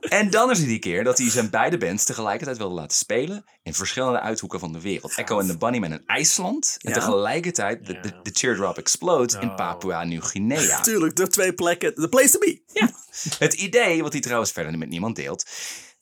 en dan is het die keer dat hij zijn beide bands tegelijkertijd wilde laten spelen in verschillende uithoeken van de wereld. Echo en de Bunnymen in IJsland en
Ja. Oh.
tegelijkertijd de, de, de Teardrop Explodes in Papua Nieuw-Guinea.
tuurlijk, de twee plekken. The place to be.
Het idee, wat hij trouwens verder met niemand deelt,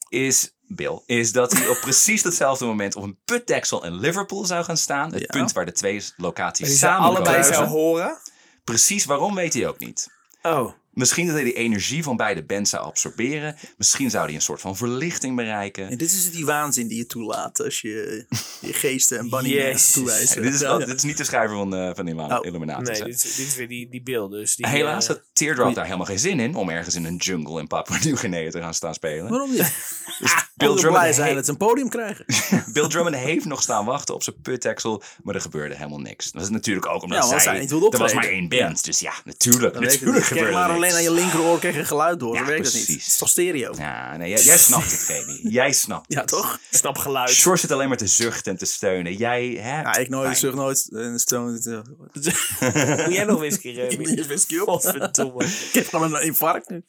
is, Bill, is dat hij op precies datzelfde moment op een putdeksel in Liverpool zou gaan staan. Het
Ja.
punt waar de twee locaties
Die ze
samen
allebei
komen.
zou horen.
Precies waarom weet hij ook niet.
Oh.
Misschien dat hij de energie van beide bands zou absorberen. Misschien zou hij een soort van verlichting bereiken.
En dit is die waanzin die je toelaat als je je geesten en bunny
Jezus.
toewijst.
Ja, dit, is
Ja.
wel- dit is niet de schrijver van, eh van Illuma-
Oh,
Illuminatus.
Nee,
hè?
dit is, dit is weer die, die beeld. Dus die,
Helaas
eh,
had Teardrop daar helemaal geen zin in om ergens in een jungle in Papua Nieuw-Guinea te gaan staan spelen.
Waarom niet? Dus
Bill
Bill blij
Drummond,
zijn
he-
dat ze een podium krijgen.
Bill Drummond heeft nog staan wachten op zijn putteksel, maar er gebeurde helemaal niks. Dat is natuurlijk ook omdat
Ja, want zij
zij,
niet wilde
er was maar
optreden.
één band, dus ja, natuurlijk,
Weet ik
natuurlijk
niet. Kijk
gebeurde
maar
niks.
alleen aan je linkeroor krijg je geluid door.
Ja,
dat werkt het niet.
precies.
Het is toch stereo? Ja,
Ja, nee, jij, jij snapt het, Remy. Jij snapt het.
toch?
Snap geluid.
George zit alleen maar te zuchten en te steunen. Jij hebt...
Ja, ik nooit,
pijn.
ik zeg nooit. eh, Stone, eh,
Moet jij nog whisky, Remy?
ik wist niet op.
Godverdomme.
Ik heb gewoon een infarct nu.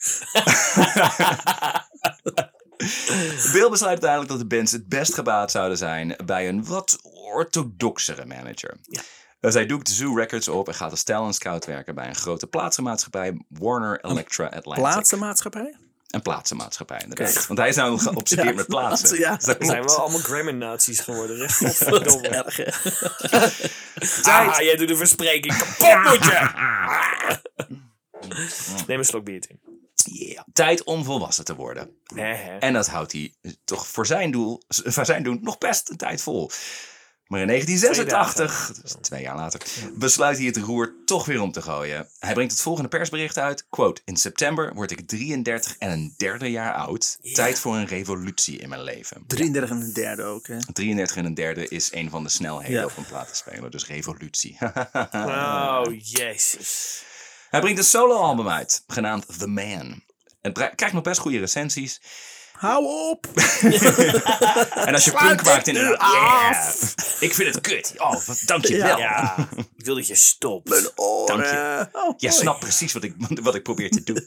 Bill besluit uiteindelijk dat de bands het best gebaat zouden zijn bij een wat orthodoxere manager. Dus hij doekt Zoo Records op en gaat als talent scout werken bij een grote plaatsenmaatschappij, Warner Electra Atlantic.
Plaatsenmaatschappij?
Een plaatsenmaatschappij, inderdaad. Want hij is nou geobsedeerd met plaatsen.
plaatsen, ja.
Dus dat
We zijn
klopt.
wel allemaal Grammy-nazi's geworden. zeg. Godverdomme.
Erg, hè?
Ah, jij doet de verspreking kapot, moet je! Neem een slok bier, Tim.
Ja. Tijd om volwassen te worden.
Nee, hè?
En dat houdt hij toch voor zijn, doel, voor zijn doen nog best een tijd vol. Maar in 1986,
Twee dagen.
dus twee jaar later, besluit hij het roer toch weer om te gooien. Hij brengt het volgende persbericht uit. Quote, in september word ik 33 en een derde jaar oud. Tijd voor een revolutie in mijn leven.
33 en een derde ook, hè?
33 en een derde is een van de snelheden
Ja.
op een platenspeler. Dus revolutie.
Oh, jezus.
Hij brengt een soloalbum uit, genaamd The Man. Het bra- krijgt nog best goede recensies.
Hou op!
En als je punk maakt in een... Ik vind het kut. Oh, wat- dank je wel.
Ja, ik wil dat je stopt.
Dank je.
Eh, oh,
Jij
hoi.
snapt precies wat ik, wat ik probeer te doen.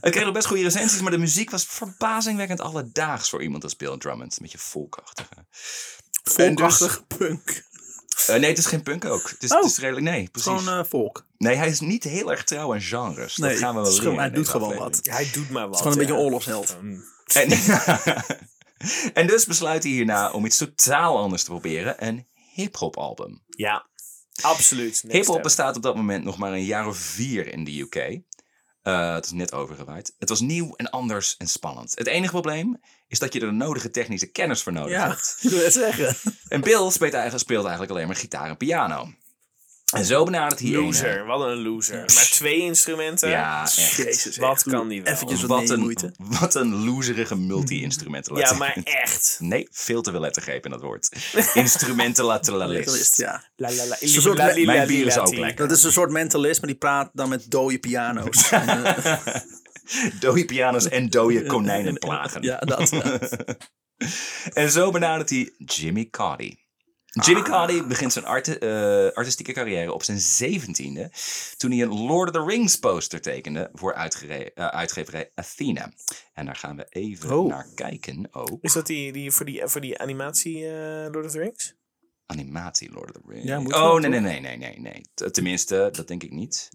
het kreeg nog best goede recensies, maar de muziek was verbazingwekkend alledaags voor iemand als Bill Drummond. Een beetje volkachtige.
Volkachtig punk.
Eh, nee, het is geen punk ook. Het is,
Oh.
het is redelijk... Nee, precies.
Gewoon eh, volk. Het
Nee, hij is niet heel erg trouw aan genres.
Nee,
dat gaan we
het
wel
is gewoon-
leren in
hij doet
deze
gewoon
aflevering.
Hij doet maar wat. Ehm,
is gewoon een beetje
hè.
een oorlogsheld.
Mm.
En, En dus besluit hij hierna om iets totaal anders te proberen. Een hip-hop album.
Ja, absoluut. Next
Hip-hop
step.
bestaat op dat moment nog maar een jaar of vier in de UK. Eh, het is net overgewaaid. Het was nieuw en anders en spannend. Het enige probleem is dat je er de nodige technische kennis voor nodig
Ja,
hebt.
ik wil het zeggen.
En Bill speelt eigenlijk, speelt eigenlijk alleen maar gitaar en piano. En zo benadert hij een, eh,
Loser, wat een loser. Maar twee instrumenten.
Ja, echt.
Jezus,
Wat
echt.
kan die wel?
Eventjes wat,
Wat
moeite.
een, wat een loserige multi-instrumentalist.
Ja, maar echt.
Nee, veel te veel lettergreep in dat woord. Instrumentalateralist.
Ja.
La, la, la,
Zo'n soort-
la, la,
mijn
la,
bier is
la,
ook
la.
lekker.
Dat is een soort mentalist, maar die praat dan met dode piano's. En, eh,
Dode pianos en dode konijnen plagen.
ja, dat. ja.
En zo benadert hij Jimmy Coddy. Jimmy
Ah.
Coddy begint zijn arte- eh, artistieke carrière op zijn zeventiende... toen hij een Lord of the Rings poster tekende voor uitgere- eh, uitgeverij Athena. En daar gaan we even
Oh.
naar kijken Oh, ook.
Is dat die, die, voor, die, voor die animatie eh, Lord of the Rings?
Animatie Lord of the Rings.
Ja, moet
oh,
wel,
nee, nee, nee, nee, nee, nee. T- Tenminste, dat denk ik niet.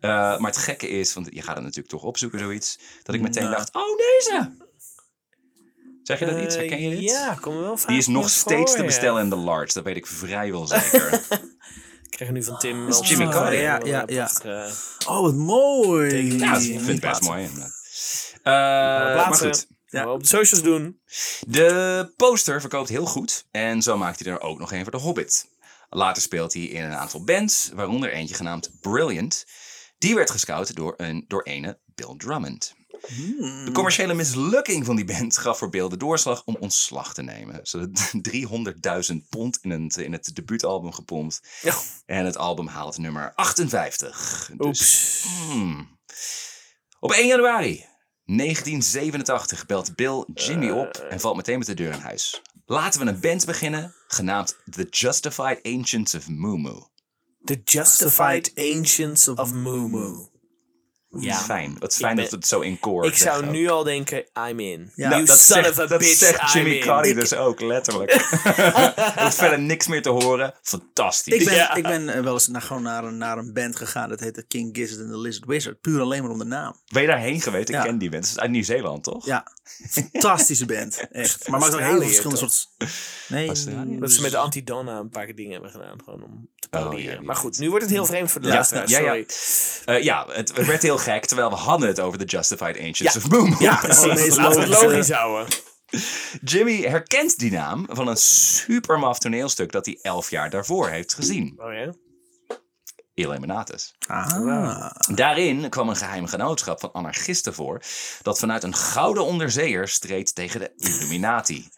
Eh, maar het gekke is, want je gaat het natuurlijk toch opzoeken, zoiets. Dat ik meteen
Nou.
dacht, oh, deze! Zeg je dat iets?
Eh,
Herken je dit?
Ja, kom er wel vaak
Die is nog
meer
steeds
voor,
te
ja.
bestellen in de large. Dat weet ik vrijwel zeker.
Ik krijg nu van Tim...
Ah, is
wel
Jimmy
een,
Carter.
eh,
Ja,
wel
ja,
een
ja.
Eh,
prachtige-
Oh, wat mooi.
ja, ik vind het best mooi. inderdaad. Eh, maar
plaatsen.
goed,
Ja.
Op de socials doen.
de poster verkoopt heel goed. En zo maakt hij er ook nog een voor The Hobbit. Later speelt hij in een aantal bands, waaronder eentje genaamd Brilliant. Die werd gescout door een door ene Bill Drummond. De commerciële mislukking van die band gaf voor Bill de doorslag om ontslag te nemen. Ze hadden 300.000 pond in het, in het debuutalbum gepompt.
Ja.
En het album haalt nummer 58. Dus,
Oeps.
hmm. Op 1 januari 1987 belt Bill Jimmy op en valt meteen met de deur in huis. Laten we een band beginnen, genaamd The Justified Ancients of Moo Moo.
The Justified Ancients of Moo Moo.
Ja. Fijn. Wat fijn
ben-
dat we het zo in koor
Ik zou
zeggen.
nu al denken, I'm in.
Ja.
you
Nou,
son
zegt,
of a
dat
bitch,
zegt
I'm
Jimmy
in.
Cardi dus ook, letterlijk. Er hoeft verder niks meer te horen. Fantastisch.
Ik ben,
Ja.
ik ben eh, wel eens naar, gewoon naar, een, naar een band gegaan. Dat heette King Gizzard and the Lizard Wizard. Puur alleen maar om de naam.
Ben je daarheen geweest? Ik
Ja.
ken die mensen. Het is uit Nieuw-Zeeland, toch?
Ja, fantastische band. Echt. Maar maakt ook heel
Australië,
verschillende soorten. Nee,
Australië?
Dat ze met de Antidonna een paar dingen hebben gedaan. Gewoon om te
Oh, ja,
parodiëren.
die
maar goed,
weet.
nu wordt het heel vreemd voor de
Ja,
luisteraars.
ja, ja.
Sorry.
Eh, ja, het werd heel gek, terwijl we hadden het over de Justified Ancients
Ja.
of Boom.
Ja, precies.
het meest
Laten we het
logische.
logisch houden.
Jimmy herkent die naam van een supermaf toneelstuk dat hij elf jaar daarvoor heeft gezien.
Oh ja?
Illuminatus.
Ah.
Daarin kwam een geheime genootschap van anarchisten voor dat vanuit een gouden onderzeeër streed tegen de Illuminati.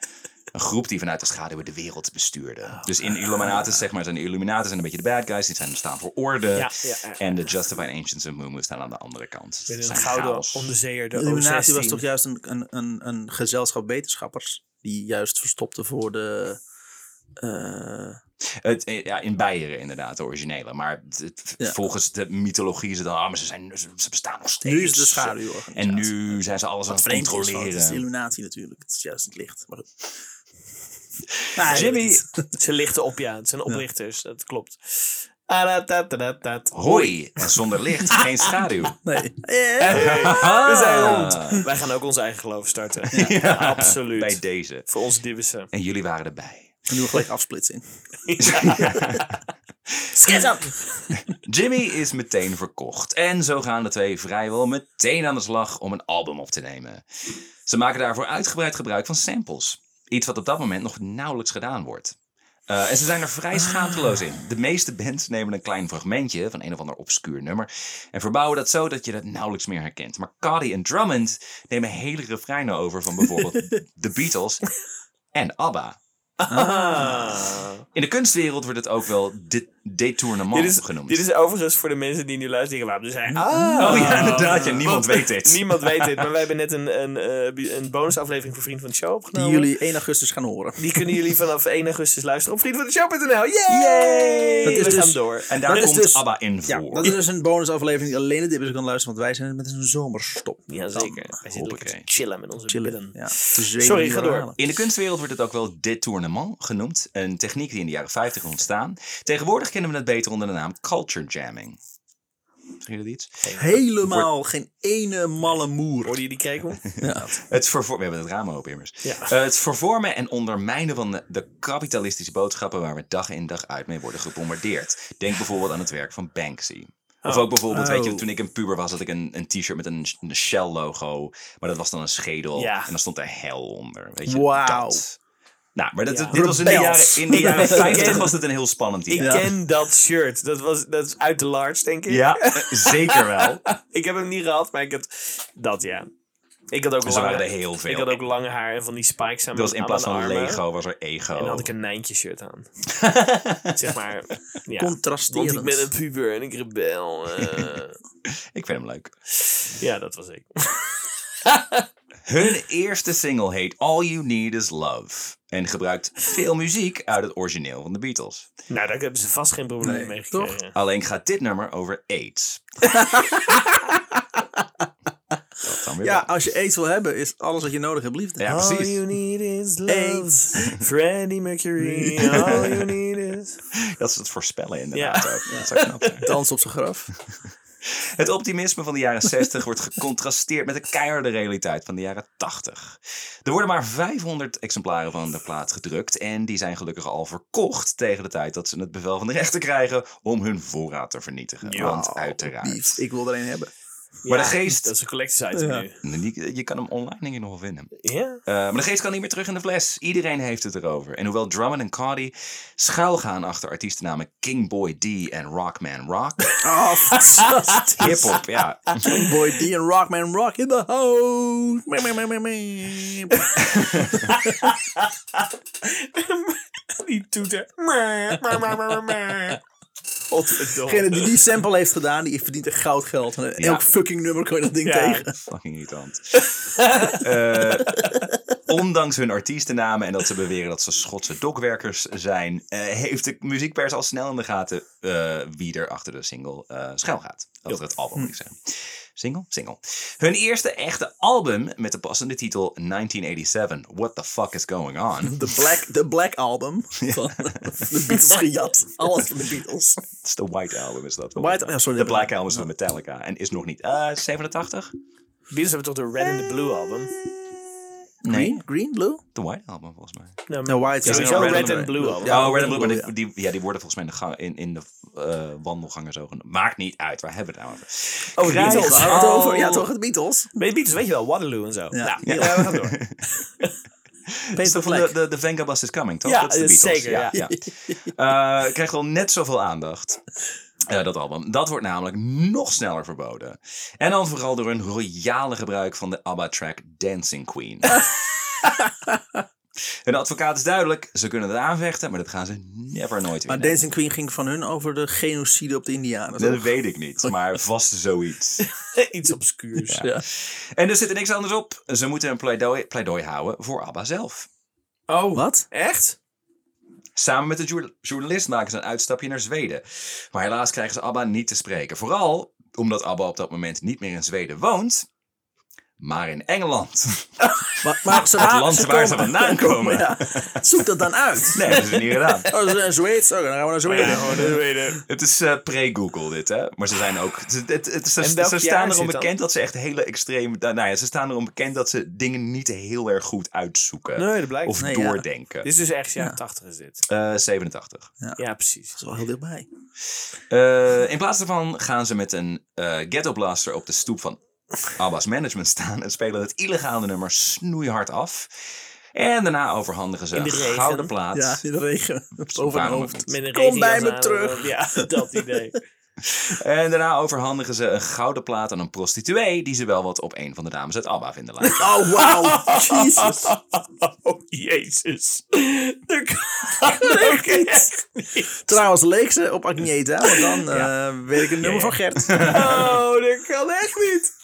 Een groep die vanuit de schaduwen de wereld bestuurde. Dus in Illuminatus, zeg maar, zijn de Illuminatus en een beetje de bad guys. Die zijn, staan voor orde.
Ja, ja, ja.
En de Justified Ancients en Moomoo staan aan de andere kant. Dus het
Met
is
een
een
gouden
chaos.
onderzeeër, de
De Illuminatie was
O16.
toch juist een, een, een, een gezelschap wetenschappers. Die juist verstopte voor de... eh,
Het, eh, ja, in Beieren inderdaad, de originele. Maar het-
Ja.
volgens de mythologie is het al, ah, maar ze, zijn, ze ze bestaan nog steeds.
nu is het de schaduw.
En nu zijn ze alles aan het
vreemd is, want het is de
controleren.
illuminatie natuurlijk. Het is juist het licht. Maar goed. Nou,
Jimmy,
Ze lichten op, ja. Het zijn oplichters, dat klopt. Ah, Adatatatat.
hoi. En zonder licht, geen schaduw.
Nee.
We zijn
Ah.
rond. Wij gaan ook ons eigen geloof starten. Ja, absoluut.
Bij deze.
Voor ons dibbissen.
En jullie waren erbij.
Nu we gelijk afsplitsen.
Jimmy is meteen verkocht. En zo gaan de twee vrijwel meteen aan de slag om een album op te nemen. Ze maken daarvoor uitgebreid gebruik van samples. Iets wat op dat moment nog nauwelijks gedaan wordt. Eh, en ze zijn er vrij schaamteloos in. De meeste bands nemen een klein fragmentje van een of ander obscuur nummer en verbouwen dat zo dat je dat nauwelijks meer herkent. Maar Cardi en Drummond nemen hele refreinen over van bijvoorbeeld The Beatles en ABBA.
Ah.
In de kunstwereld wordt het ook wel de detournement
Dit is,
genoemd.
dit is overigens voor de mensen die nu luisteren. die denken, Waarom zijn
Oh ja, inderdaad. Ja, niemand weet dit.
Ah, Niemand weet dit, maar wij hebben net een, een, eh, bi- een bonusaflevering voor Vriend van de Show
Die
opgenomen.
jullie 1 augustus gaan horen.
Die kunnen jullie vanaf 1 augustus luisteren op vriendvandeshow.nl. Yay!
Dat is
We
dus-
gaan door.
En daar
Dat is
komt
dus-
ABBA in
Ja,
voor.
dat is dus een bonusaflevering die alleen de dippers kan luisteren, want wij zijn met een zomerstop.
Jazeker. Wij zitten lekker te
Hoppakee.
chillen met onze
Chillen.
billen.
Ja, te zweten
Sorry,
in je
ga door.
verhalen.
In de kunstwereld wordt het ook wel detournement genoemd. Een techniek die in de jaren 50 is ontstaan. Tegenwoordig kennen we het beter onder de naam culture jamming. Zeggen jullie iets?
Helemaal geen ene malle moer.
Hoorde je die krekel?
Het vervor- We hebben het raam open immers.
Ja.
Eh, het vervormen en ondermijnen van de, de kapitalistische boodschappen waar we dag in dag uit mee worden gebombardeerd. Denk bijvoorbeeld aan het werk van Banksy. Of ook bijvoorbeeld, weet je,
Oh.
toen ik een puber was, had ik een, een t-shirt met een, een Shell-logo. Maar dat was dan een schedel.
Ja.
En dan stond er hel onder. Weet je,
Wauw.
dat. Nou, maar dat,
Ja.
dit was in de
Rebels.
jaren, in de jaren
Ik ken-
50 was het een heel spannend
Ik
idee.
ken dat shirt. Dat, was, dat is uit de large, denk ik.
Ja, zeker wel.
Ik heb hem niet gehad, maar ik had dat, ja. Ik had ook,
Dus er
lange,
waren er heel veel.
Ik had ook lange haar en van die spikes aan
Dat was
mijn-
in
aan
plaats
mijn
van
armen.
Lego, was er ego.
En
Oh.
dan had ik een Nijntje shirt aan. zeg maar, ja. Want
Contrasterend.
ik ben een puber en ik rebel. eh.
ik vind hem leuk.
ja, dat was ik.
Hun eerste single heet All You Need Is Love en gebruikt veel muziek uit het origineel van de Beatles.
Nou, daar hebben ze vast geen probleem
Nee,
mee
toch?
gekregen.
Alleen gaat dit nummer over AIDS. Dat dan weer
Ja,
wel.
als je aids wil hebben, is alles wat je nodig hebt liefde.
ja,
All
precies.
you need is love.
Aids.
Freddie Mercury. All you need is...
Dat is het voorspellen inderdaad
Ja.
ook. Dat zou knap zijn.
Dans op zijn graf.
Het optimisme van de jaren 60 wordt gecontrasteerd met de keiharde realiteit van de jaren 80. Er worden maar 500 exemplaren van de plaat gedrukt en die zijn gelukkig al verkocht tegen de tijd dat ze het bevel van de rechter krijgen om hun voorraad te vernietigen. Want uiteraard.
Niet. Ik wil er een hebben.
Maar
Ja,
de geest-
Dat is een collectors item
Ja.
nu.
Je je kan hem online denk ik nog wel vinden.
Ja?
Eh, maar de geest kan niet meer terug in de fles. Iedereen heeft het erover. En hoewel Drummond en Cardi schuil gaan achter artiestennamen King Boy D en Rockman Rock.
Oh, fantastisch.
Hip-hop, ja.
Boy D en Rockman Rock in the house. Meh, meh, meh, meh, meh.
Die toeter. Maar, maar, maar, maar, maar. Godverdomme.
Degene die die sample heeft gedaan, die verdient echt goud geld. Elk
Ja.
fucking nummer kan je dat ding
Ja.
tegen.
Fucking irritant. Eh, ondanks hun artiestennamen en dat ze beweren dat ze Schotse dokwerkers zijn, eh, heeft de muziekpers al snel in de gaten eh, wie er achter de single eh schuil gaat. Achter het album
Hm.
moet ik zeggen. Single? Single. Hun eerste echte album met de passende titel 1987, What the Fuck is Going On?
De Black, de Black Album. Van de Beatles gejat. Alles van de Beatles.
Dat is de White Album is dat. wel.
White- ja, sorry.
de Black Album is van Metallica en is nog niet eh, 87?
Beatles hebben toch de Red and the Blue album?
Green? Green? Blue?
De White Album volgens mij.
Nou,
Nou, White is
sowieso
een
Red,
Red
and Blue album.
Ja,
oh, Red and
Blue,
Blue. Maar die,
ja.
die, ja, die worden volgens mij in de, gang, in, in de eh, wandelgangen zo genoemd. Maakt niet uit, waar hebben we het nou over?
Oh, de
Krijg
Beatles.
Beatles. Hadden we het over? Ja,
Oh.
toch? De Beatles.
Bij de Beatles weet je wel, Waterloo en zo.
Ja.
Nou,
Ja.
ja, we gaan door.
Is
Peter
toch van
Black.
de, de, de Venga Bus is Coming, toch?
Ja,
dat is de
dat is
Beatles.
zeker,
ja. Eh, krijgt wel net zoveel aandacht. eh, dat album. Dat wordt namelijk nog sneller verboden. En dan vooral door hun royale gebruik van de ABBA-track Dancing Queen. Hun advocaat is duidelijk. Ze kunnen het aanvechten, maar dat gaan ze never nooit
Maar
winnen.
Dancing Queen ging van hun over de genocide op de Indianen.
Dat
toch?
weet ik niet, maar vast zoiets.
Iets obscuurs.
Ja.
En er zit er niks anders op. Ze moeten een pleidooi, pleidooi houden voor ABBA zelf.
Oh,
Wat?
echt?
Samen met de jour- journalist maken ze een uitstapje naar Zweden. Maar helaas krijgen ze ABBA niet te spreken. Vooral omdat ABBA op dat moment niet meer in Zweden woont, maar in Engeland.
Maar, maar ze
Ah,
Het
waren-
land waar ze vandaan komen.
Ja. Zoek dat dan uit.
Nee, dat is niet gedaan.
Oh, ze zijn Zweeds. Oké, dan gaan we naar Zweden.
Het is eh, pre-Google dit, hè? Maar ze zijn ook... Ze, het, het, ze,
En welk
ze
jaar
staan
is
erom
dit dan?
bekend dat ze echt hele extreme... Nou ja, ze staan erom bekend dat ze dingen niet heel erg goed uitzoeken.
Nee, dat blijkt.
Of
Nee, ja.
doordenken.
Dit is dus echt jaren 80 is dit.
Eh, 87.
Ja, precies.
Dat is wel heel dichtbij.
Eh, in plaats daarvan gaan ze met een eh ghetto blaster op de stoep van Abbas Management staan en spelen het illegale nummer snoeihard af. En daarna overhandigen ze
In
een
de regen.
gouden plaat.
Ja, in de regen. Over mijn
Waarom-
hoofd.
Met een
Kom bij
regenjas
me
aan,
terug.
Ja, dat idee.
En daarna overhandigen ze een gouden plaat aan een prostituee die ze wel wat op een van de dames uit Abba vinden lijken.
Oh, wauw.
Dus-
Jezus.
Oh, jezus. Dat kan ook echt niet.
Trouwens, leek ze op Agneta, want dan eh, weet ik het nummer
Ja, ja.
van Gert.
Oh, dat kan echt niet.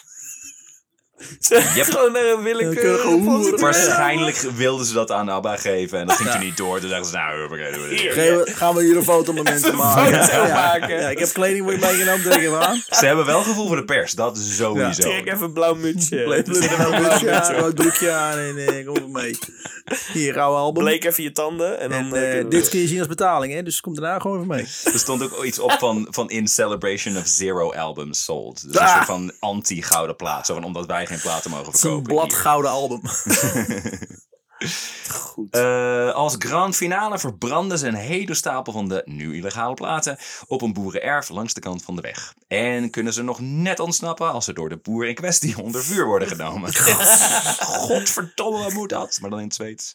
Ze
Yep.
gewoon naar een willekeurige
Willekeurige hoer.
positie.
Waarschijnlijk wilden ze dat aan ABBA geven en dat ging toen niet door. Toen dachten ze, nou, oké, doe dit.
Geven we- gaan we hier een foto met mensen maken.
foto
Ja, ja.
maken.
Ja, ik heb kleding voor je meegenomen, druk hem aan.
Ze hebben wel gevoel voor de pers, dat is sowieso.
Trek even een blauw mutsje.
Leuk
Er zit een blauw
bloedje
mutsje
aan,
op.
rood broekje aan en eh, kom op mee. Hier, oude album.
Bleek even je tanden. En
En
dan
eh,
eh, kunnen we-
dit kun je zien als betaling, hè? dus kom daarna gewoon even mee.
Er stond ook iets op van, van in celebration of zero albums sold. Dus een
Ah.
soort van anti-gouden plaat. Zo van, omdat wij geen platen mogen
Het is een
verkopen. hier.
bladgouden album.
Eh, als grand finale verbranden ze een hele stapel van de nu illegale platen op een boerenerf langs de kant van de weg. En kunnen ze nog net ontsnappen als ze door de boer in kwestie onder vuur worden genomen. Godverdomme, hoe moet dat? Maar dan in het Zweeds.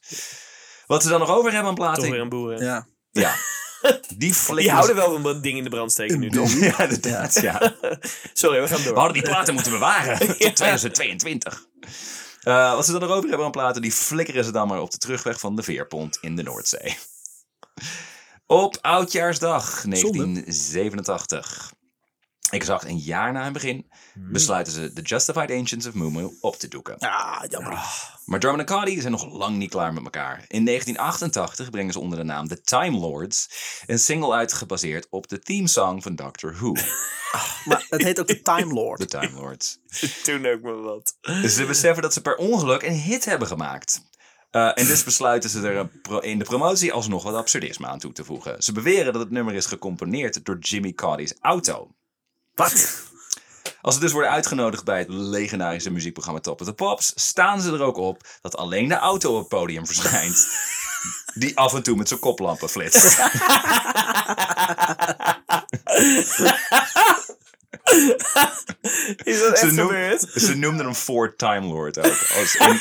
Wat ze dan nog over hebben aan
toch weer
platen,
een boeren.
Ja.
ja, die flikken
Die
ze-
houden wel van ding in de brand steken nu, toch?
Ja, inderdaad, ja.
Sorry, we gaan
We
door.
hadden die platen moeten bewaren tot 2022. Eh, wat ze dan nog over hebben aan platen, die flikkeren ze dan maar op de terugweg van de Veerpont in de Noordzee. Op oudjaarsdag 1987, exact een jaar na hun begin, besluiten ze de Justified Ancients of Moo op te doeken.
Ah, jammer.
Maar Drummond en Cardi zijn nog lang niet klaar met elkaar. In 1988 brengen ze onder de naam The Time Lords een single uit gebaseerd op de themesong van Doctor Who,
Maar het heet ook de Time Lord.
The Time Lords.
Toen ook maar wat.
Ze beseffen dat ze per ongeluk een hit hebben gemaakt. Eh, en dus besluiten ze er een pro- in de promotie alsnog wat absurdisme aan toe te voegen. Ze beweren dat het nummer is gecomponeerd door Jimmy Cardi's auto.
Wat?
Als ze dus worden uitgenodigd bij het legendarische muziekprogramma Top of the Pops, staan ze er ook op dat alleen de auto op het podium verschijnt. Die af en toe met zijn koplampen flitst.
Is dat
Ze,
echt
noem-
gebeurd?
Dus ze noemden hem Ford Time Lord ook. Als een,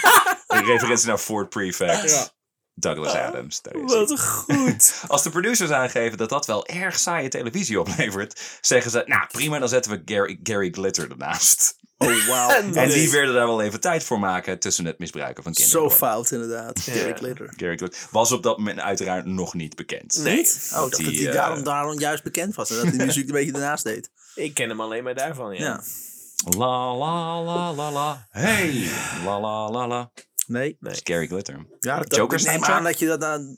een referentie naar Ford Prefect. Douglas Adams. Daar is hij.
Wat goed.
Als de producers aangeven dat dat wel erg saaie televisie oplevert, zeggen ze: Nou prima, dan zetten we Gary, Gary Glitter ernaast.
Oh, wauw.
En die
Nee.
werden daar wel even tijd voor maken tussen het misbruiken van kinderen.
Zo
door
fout, inderdaad. Derek Litter.
Gary Glitter was op dat moment uiteraard nog niet bekend.
Oh,
Nee.
ik dacht dat
die,
hij
eh,
daarom, daarom juist bekend was. En dat hij de muziek een beetje ernaast deed.
Ik ken hem alleen maar daarvan, ja.
Ja.
La la la la la. Hey. La la la la.
Nee.
Dat is Gary Glitter.
Ja, dat
Joker
Neem
soundtrack?
aan dat je dat dan...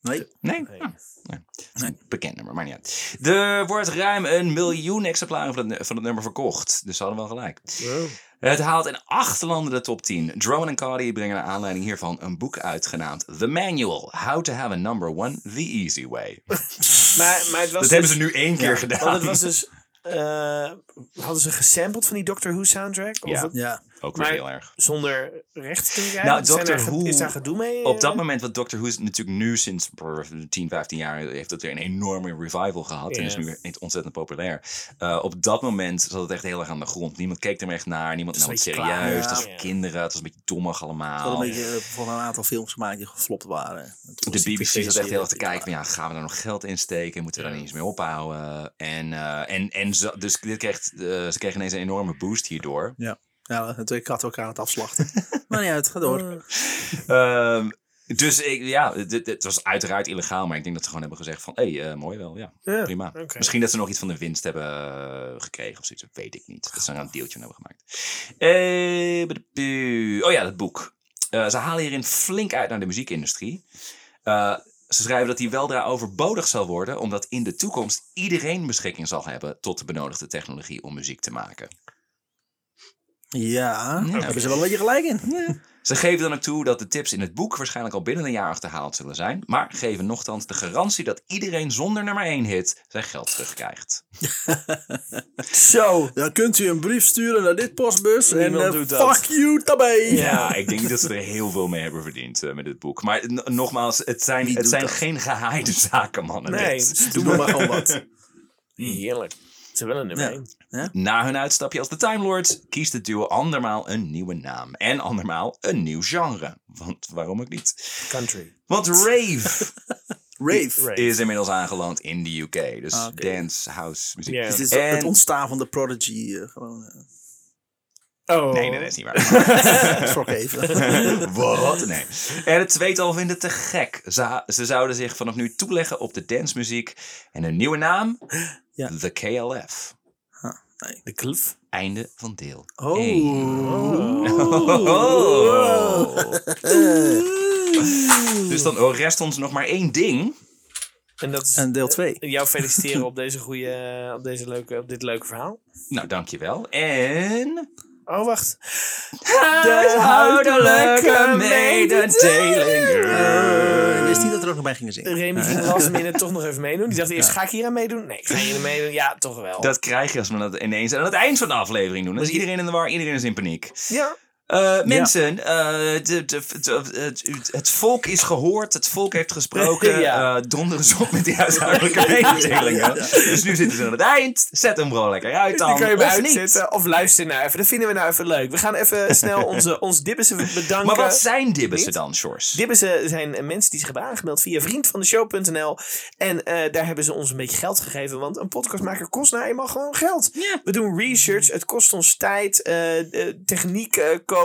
Nee.
Nee. Ah, nee. Het is een Bekend nummer, maar niet uit. Er wordt ruim een miljoen exemplaren van het, van het nummer verkocht. Dus ze hadden wel gelijk. Het haalt in acht landen de top 10. Drummond en Cardi brengen naar aanleiding hiervan een boek uit genaamd The Manual: How to Have a Number One the Easy Way.
Maar, maar het was
Dat
dus-
hebben ze nu één keer gedaan.
Want het was dus... eh, hadden ze gesampled van die Doctor Who soundtrack? Of
Ja.
het-
Ja.
Ook weer
maar-
heel erg.
Zonder recht te krijgen?
Nou,
Zijn
Dr.
er ge-
Who-
Is daar gedoe mee? eh,
Op dat moment, want Doctor Who is natuurlijk nu sinds brr, 10, 15 jaar, heeft het weer een enorme revival gehad. En
Ja.
is nu echt ontzettend populair. Eh, op dat moment zat het echt heel erg aan de grond. Niemand keek er meer echt naar, niemand nam het
een
serieus.
beetje klaar,
Het
ja.
was voor
Ja.
kinderen, het was een beetje dommig allemaal.
Ze hadden een beetje eh, van een aantal films gemaakt die geflopt waren.
Oh, De BBC zat echt heel erg te kijken van ja, gaan we daar nog geld in steken? Moeten we daar niet eens mee ophouden? En, eh, en, en ze, dus dit kreeg, eh, ze kregen ineens een enorme boost hierdoor.
Ja. Ja, de twee katten elkaar aan het afslachten. maar niet uit, ga door.
Ehm, dus ik, ja, dit, dit was uiteraard illegaal, maar ik denk dat ze gewoon hebben gezegd van hé, hey, eh, mooi wel, ja,
Ja,
prima.
oké.
Misschien dat ze nog iets van de winst hebben eh, gekregen of zoiets, dat weet ik niet. Dat ze daar een deeltje van hebben gemaakt. Eh, bedepu- oh ja, dat boek. Eh, ze halen hierin flink uit naar de muziekindustrie. Eh, ze schrijven dat die weldra overbodig zal worden, omdat in de toekomst iedereen beschikking zal hebben tot de benodigde technologie om muziek te maken.
Ja, daar
oké.
hebben ze wel een beetje gelijk in.
Ze geven dan ook toe dat de tips in het boek waarschijnlijk al binnen een jaar achterhaald zullen zijn, maar geven nochtans de garantie dat iedereen zonder nummer 1 hit zijn geld terugkrijgt.
Zo. Dan kunt u een brief sturen naar dit postbus.
Niemand
en eh,
doet dat.
fuck you daarbij.
Ja, ik denk niet dat ze er heel veel mee hebben verdiend eh, met dit boek. Maar n- nogmaals, het zijn,
Wie
het
doet
zijn
dat?
geen gehaaide zaken, mannen.
Nee,
dit.
ze
Doe maar gewoon wat.
Hmm. Heerlijk. Ze hebben wel een nummer
Ja.
één.
Na hun uitstapje als de Time Lords kiest het duo andermaal een nieuwe naam. En andermaal een nieuw genre. Want waarom ook niet?
Country.
Want rave
Rave.
Right.
is inmiddels aangeland in de UK. Dus dance, house, muziek.
Ja.
Dit is
En-
het ontstaan van de Prodigy. eh, gewoon, eh,
Oh.
Nee, nee, dat is niet waar.
schrok even.
Wat? Nee. En het tweetal vinden het te gek. Ze, ze zouden zich vanaf nu toeleggen op de dancemuziek. En een nieuwe naam?
Ja.
The KLF.
Nee.
De kluf.
Einde van deel
Oh.
één. Dus dan oh, rest ons nog maar één ding.
En dat is
En deel 2.
jou feliciteren op, deze goede, op, deze leuke, op dit leuke verhaal.
Nou, dankjewel. En...
Oh, wacht.
Huishoudelijke mededelingen.
Ik Eh, wist niet dat er ook nog bij gingen zingen.
Remy ging last minute toch nog even meedoen. Die dacht eerst, ga ik hier aan meedoen? Nee, ga je hier meedoen? Ja, toch wel.
Dat krijg je als we dat ineens aan het eind van de aflevering doen. Dan is iedereen in de war, iedereen is in paniek.
ja.
Eh, mensen, eh, de- de- de- het- het volk is gehoord, het volk heeft gesproken.
Ja.
Eh, donder eens op met die huishoudelijke mededelingen. Dus nu zitten ze aan het eind. Zet hem gewoon lekker uit dan.
Dan kan je hem
of niet.
uitzetten of luister nou even. Dat vinden we nou even leuk. We gaan even snel onze, ons dibbissen bedanken.
Maar wat zijn dibbissen
Niet?
dan, Sjors?
Dibbissen zijn mensen die zich hebben aangemeld via vriendvandeshow.nl. En eh, daar hebben ze ons een beetje geld gegeven. Want een podcast maken kost nou eenmaal gewoon geld.
Ja.
We doen research. Het kost ons tijd. eh, eh, techniek eh, kopen.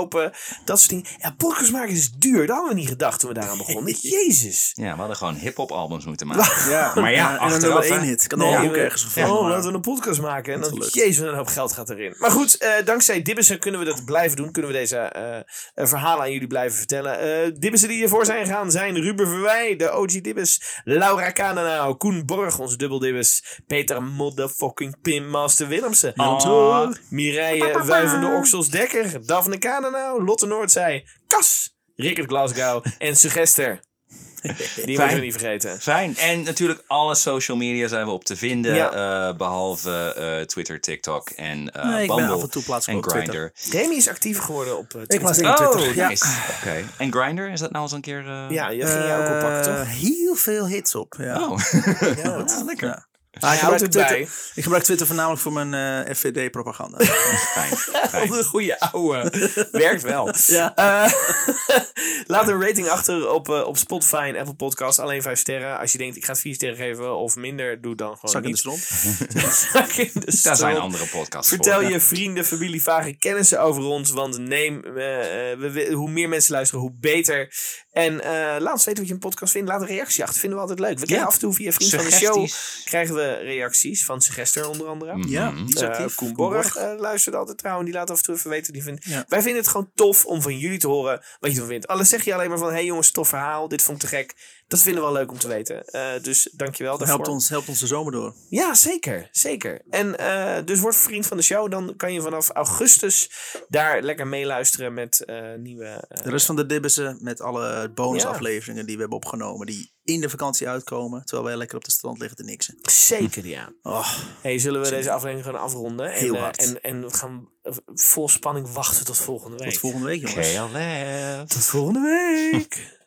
Dat soort dingen. Ja, podcast maken is duur. Dat hadden we niet gedacht toen we daaraan begonnen. Jezus.
Ja, we hadden gewoon hip-hop albums moeten maken.
Ja,
Maar ja,
en dan
achteraf,
nummer
hè?
één hit. Kan
Nee,
ook
we-
ergens gevonden
Oh,
worden.
laten we een podcast maken. En
Dat
dan,
lukt.
jezus, wat een hoop geld gaat erin. Maar goed, eh, dankzij Dibbissen kunnen we dat blijven doen. Kunnen we deze eh, eh, verhalen aan jullie blijven vertellen. Eh Dibbissen die ervoor zijn gegaan zijn Ruben Verwij, de OG Dibbes. Laura Kanenau, Koen Borg, onze dubbeldibbes. Peter motherfucking Pinmaster Willemsen.
Ah.
Mireille Wuivende Oksels Dekker. Daphne Kanenau, Lotte Noordzij. Kas, Rickert Glasgow en Suggester. Die moeten we niet vergeten.
Fijn. En natuurlijk alle social media zijn we op te vinden.
Ja.
eh, behalve eh, Twitter, TikTok en eh
Nee, ik ben
Bumble.
af en toe plaats ik
en
op Twitter.
Grindr.
Remy is actief geworden op eh, Twitter.
was in
Oh,
Ja.
nice. Oké. En Grindr, is dat nou eens een keer... eh,
Ja, je ging je ook op pakken,
Eh,
toch?
Heel veel hits op. Ja.
Oh, Ah, lekker.
Ja. Ah, ik,
houdt
gebruik
het
Twitter,
bij.
ik gebruik Twitter voornamelijk voor mijn eh, FVD-propaganda.
Fijn. fijn.
Wat Eh, een goede ouwe. Werkt wel.
Ja.
Eh, laat een rating achter op, eh, op Spotify en Apple Podcasts. Alleen 5 sterren. Als je denkt, ik ga 4 sterren geven of minder, doe dan gewoon
Zak in de
niet.
stront.
Zak in de
Daar zijn
strop.
andere podcasts
Vertel
voor.
je vrienden, familie, vage kennissen over ons. Want neem, eh, eh, we, we- hoe meer mensen luisteren, hoe beter. En eh, laat ons weten wat je een podcast vindt. Laat een reactie achter. Vinden we altijd leuk. We krijgen af en toe via vrienden van de show
Suggesties.
krijgen we reacties. Van Suggester onder andere.
Ja, die is
Eh,
actief.
Koen Borg eh, luisterde altijd trouwens. Die laat af en toe even weten wat hij vindt.
Ja.
Wij vinden het gewoon tof om van jullie te horen wat je ervan vindt. Alles zeg je alleen maar van... Hé hey jongens, tof verhaal. Dit vond ik te gek. Dat vinden we wel leuk om te weten. Eh, dus dankjewel daarvoor.
Helpt ons, helpt ons de zomer door.
Ja, zeker. Zeker. En eh, dus word vriend van de show. Dan kan je vanaf augustus daar lekker meeluisteren met eh, nieuwe... eh,
De rest van de dibbissen met alle bonusafleveringen die we hebben opgenomen. Die in de vakantie uitkomen. Terwijl wij lekker op de strand liggen te niksen.
zeker, ja.
Oh,
Hey, zullen we deze aflevering gewoon afronden?
Heel
en, eh,
hard.
en, en we gaan eh, vol spanning wachten tot volgende week.
tot volgende week jongens.
KLF.
Tot volgende week.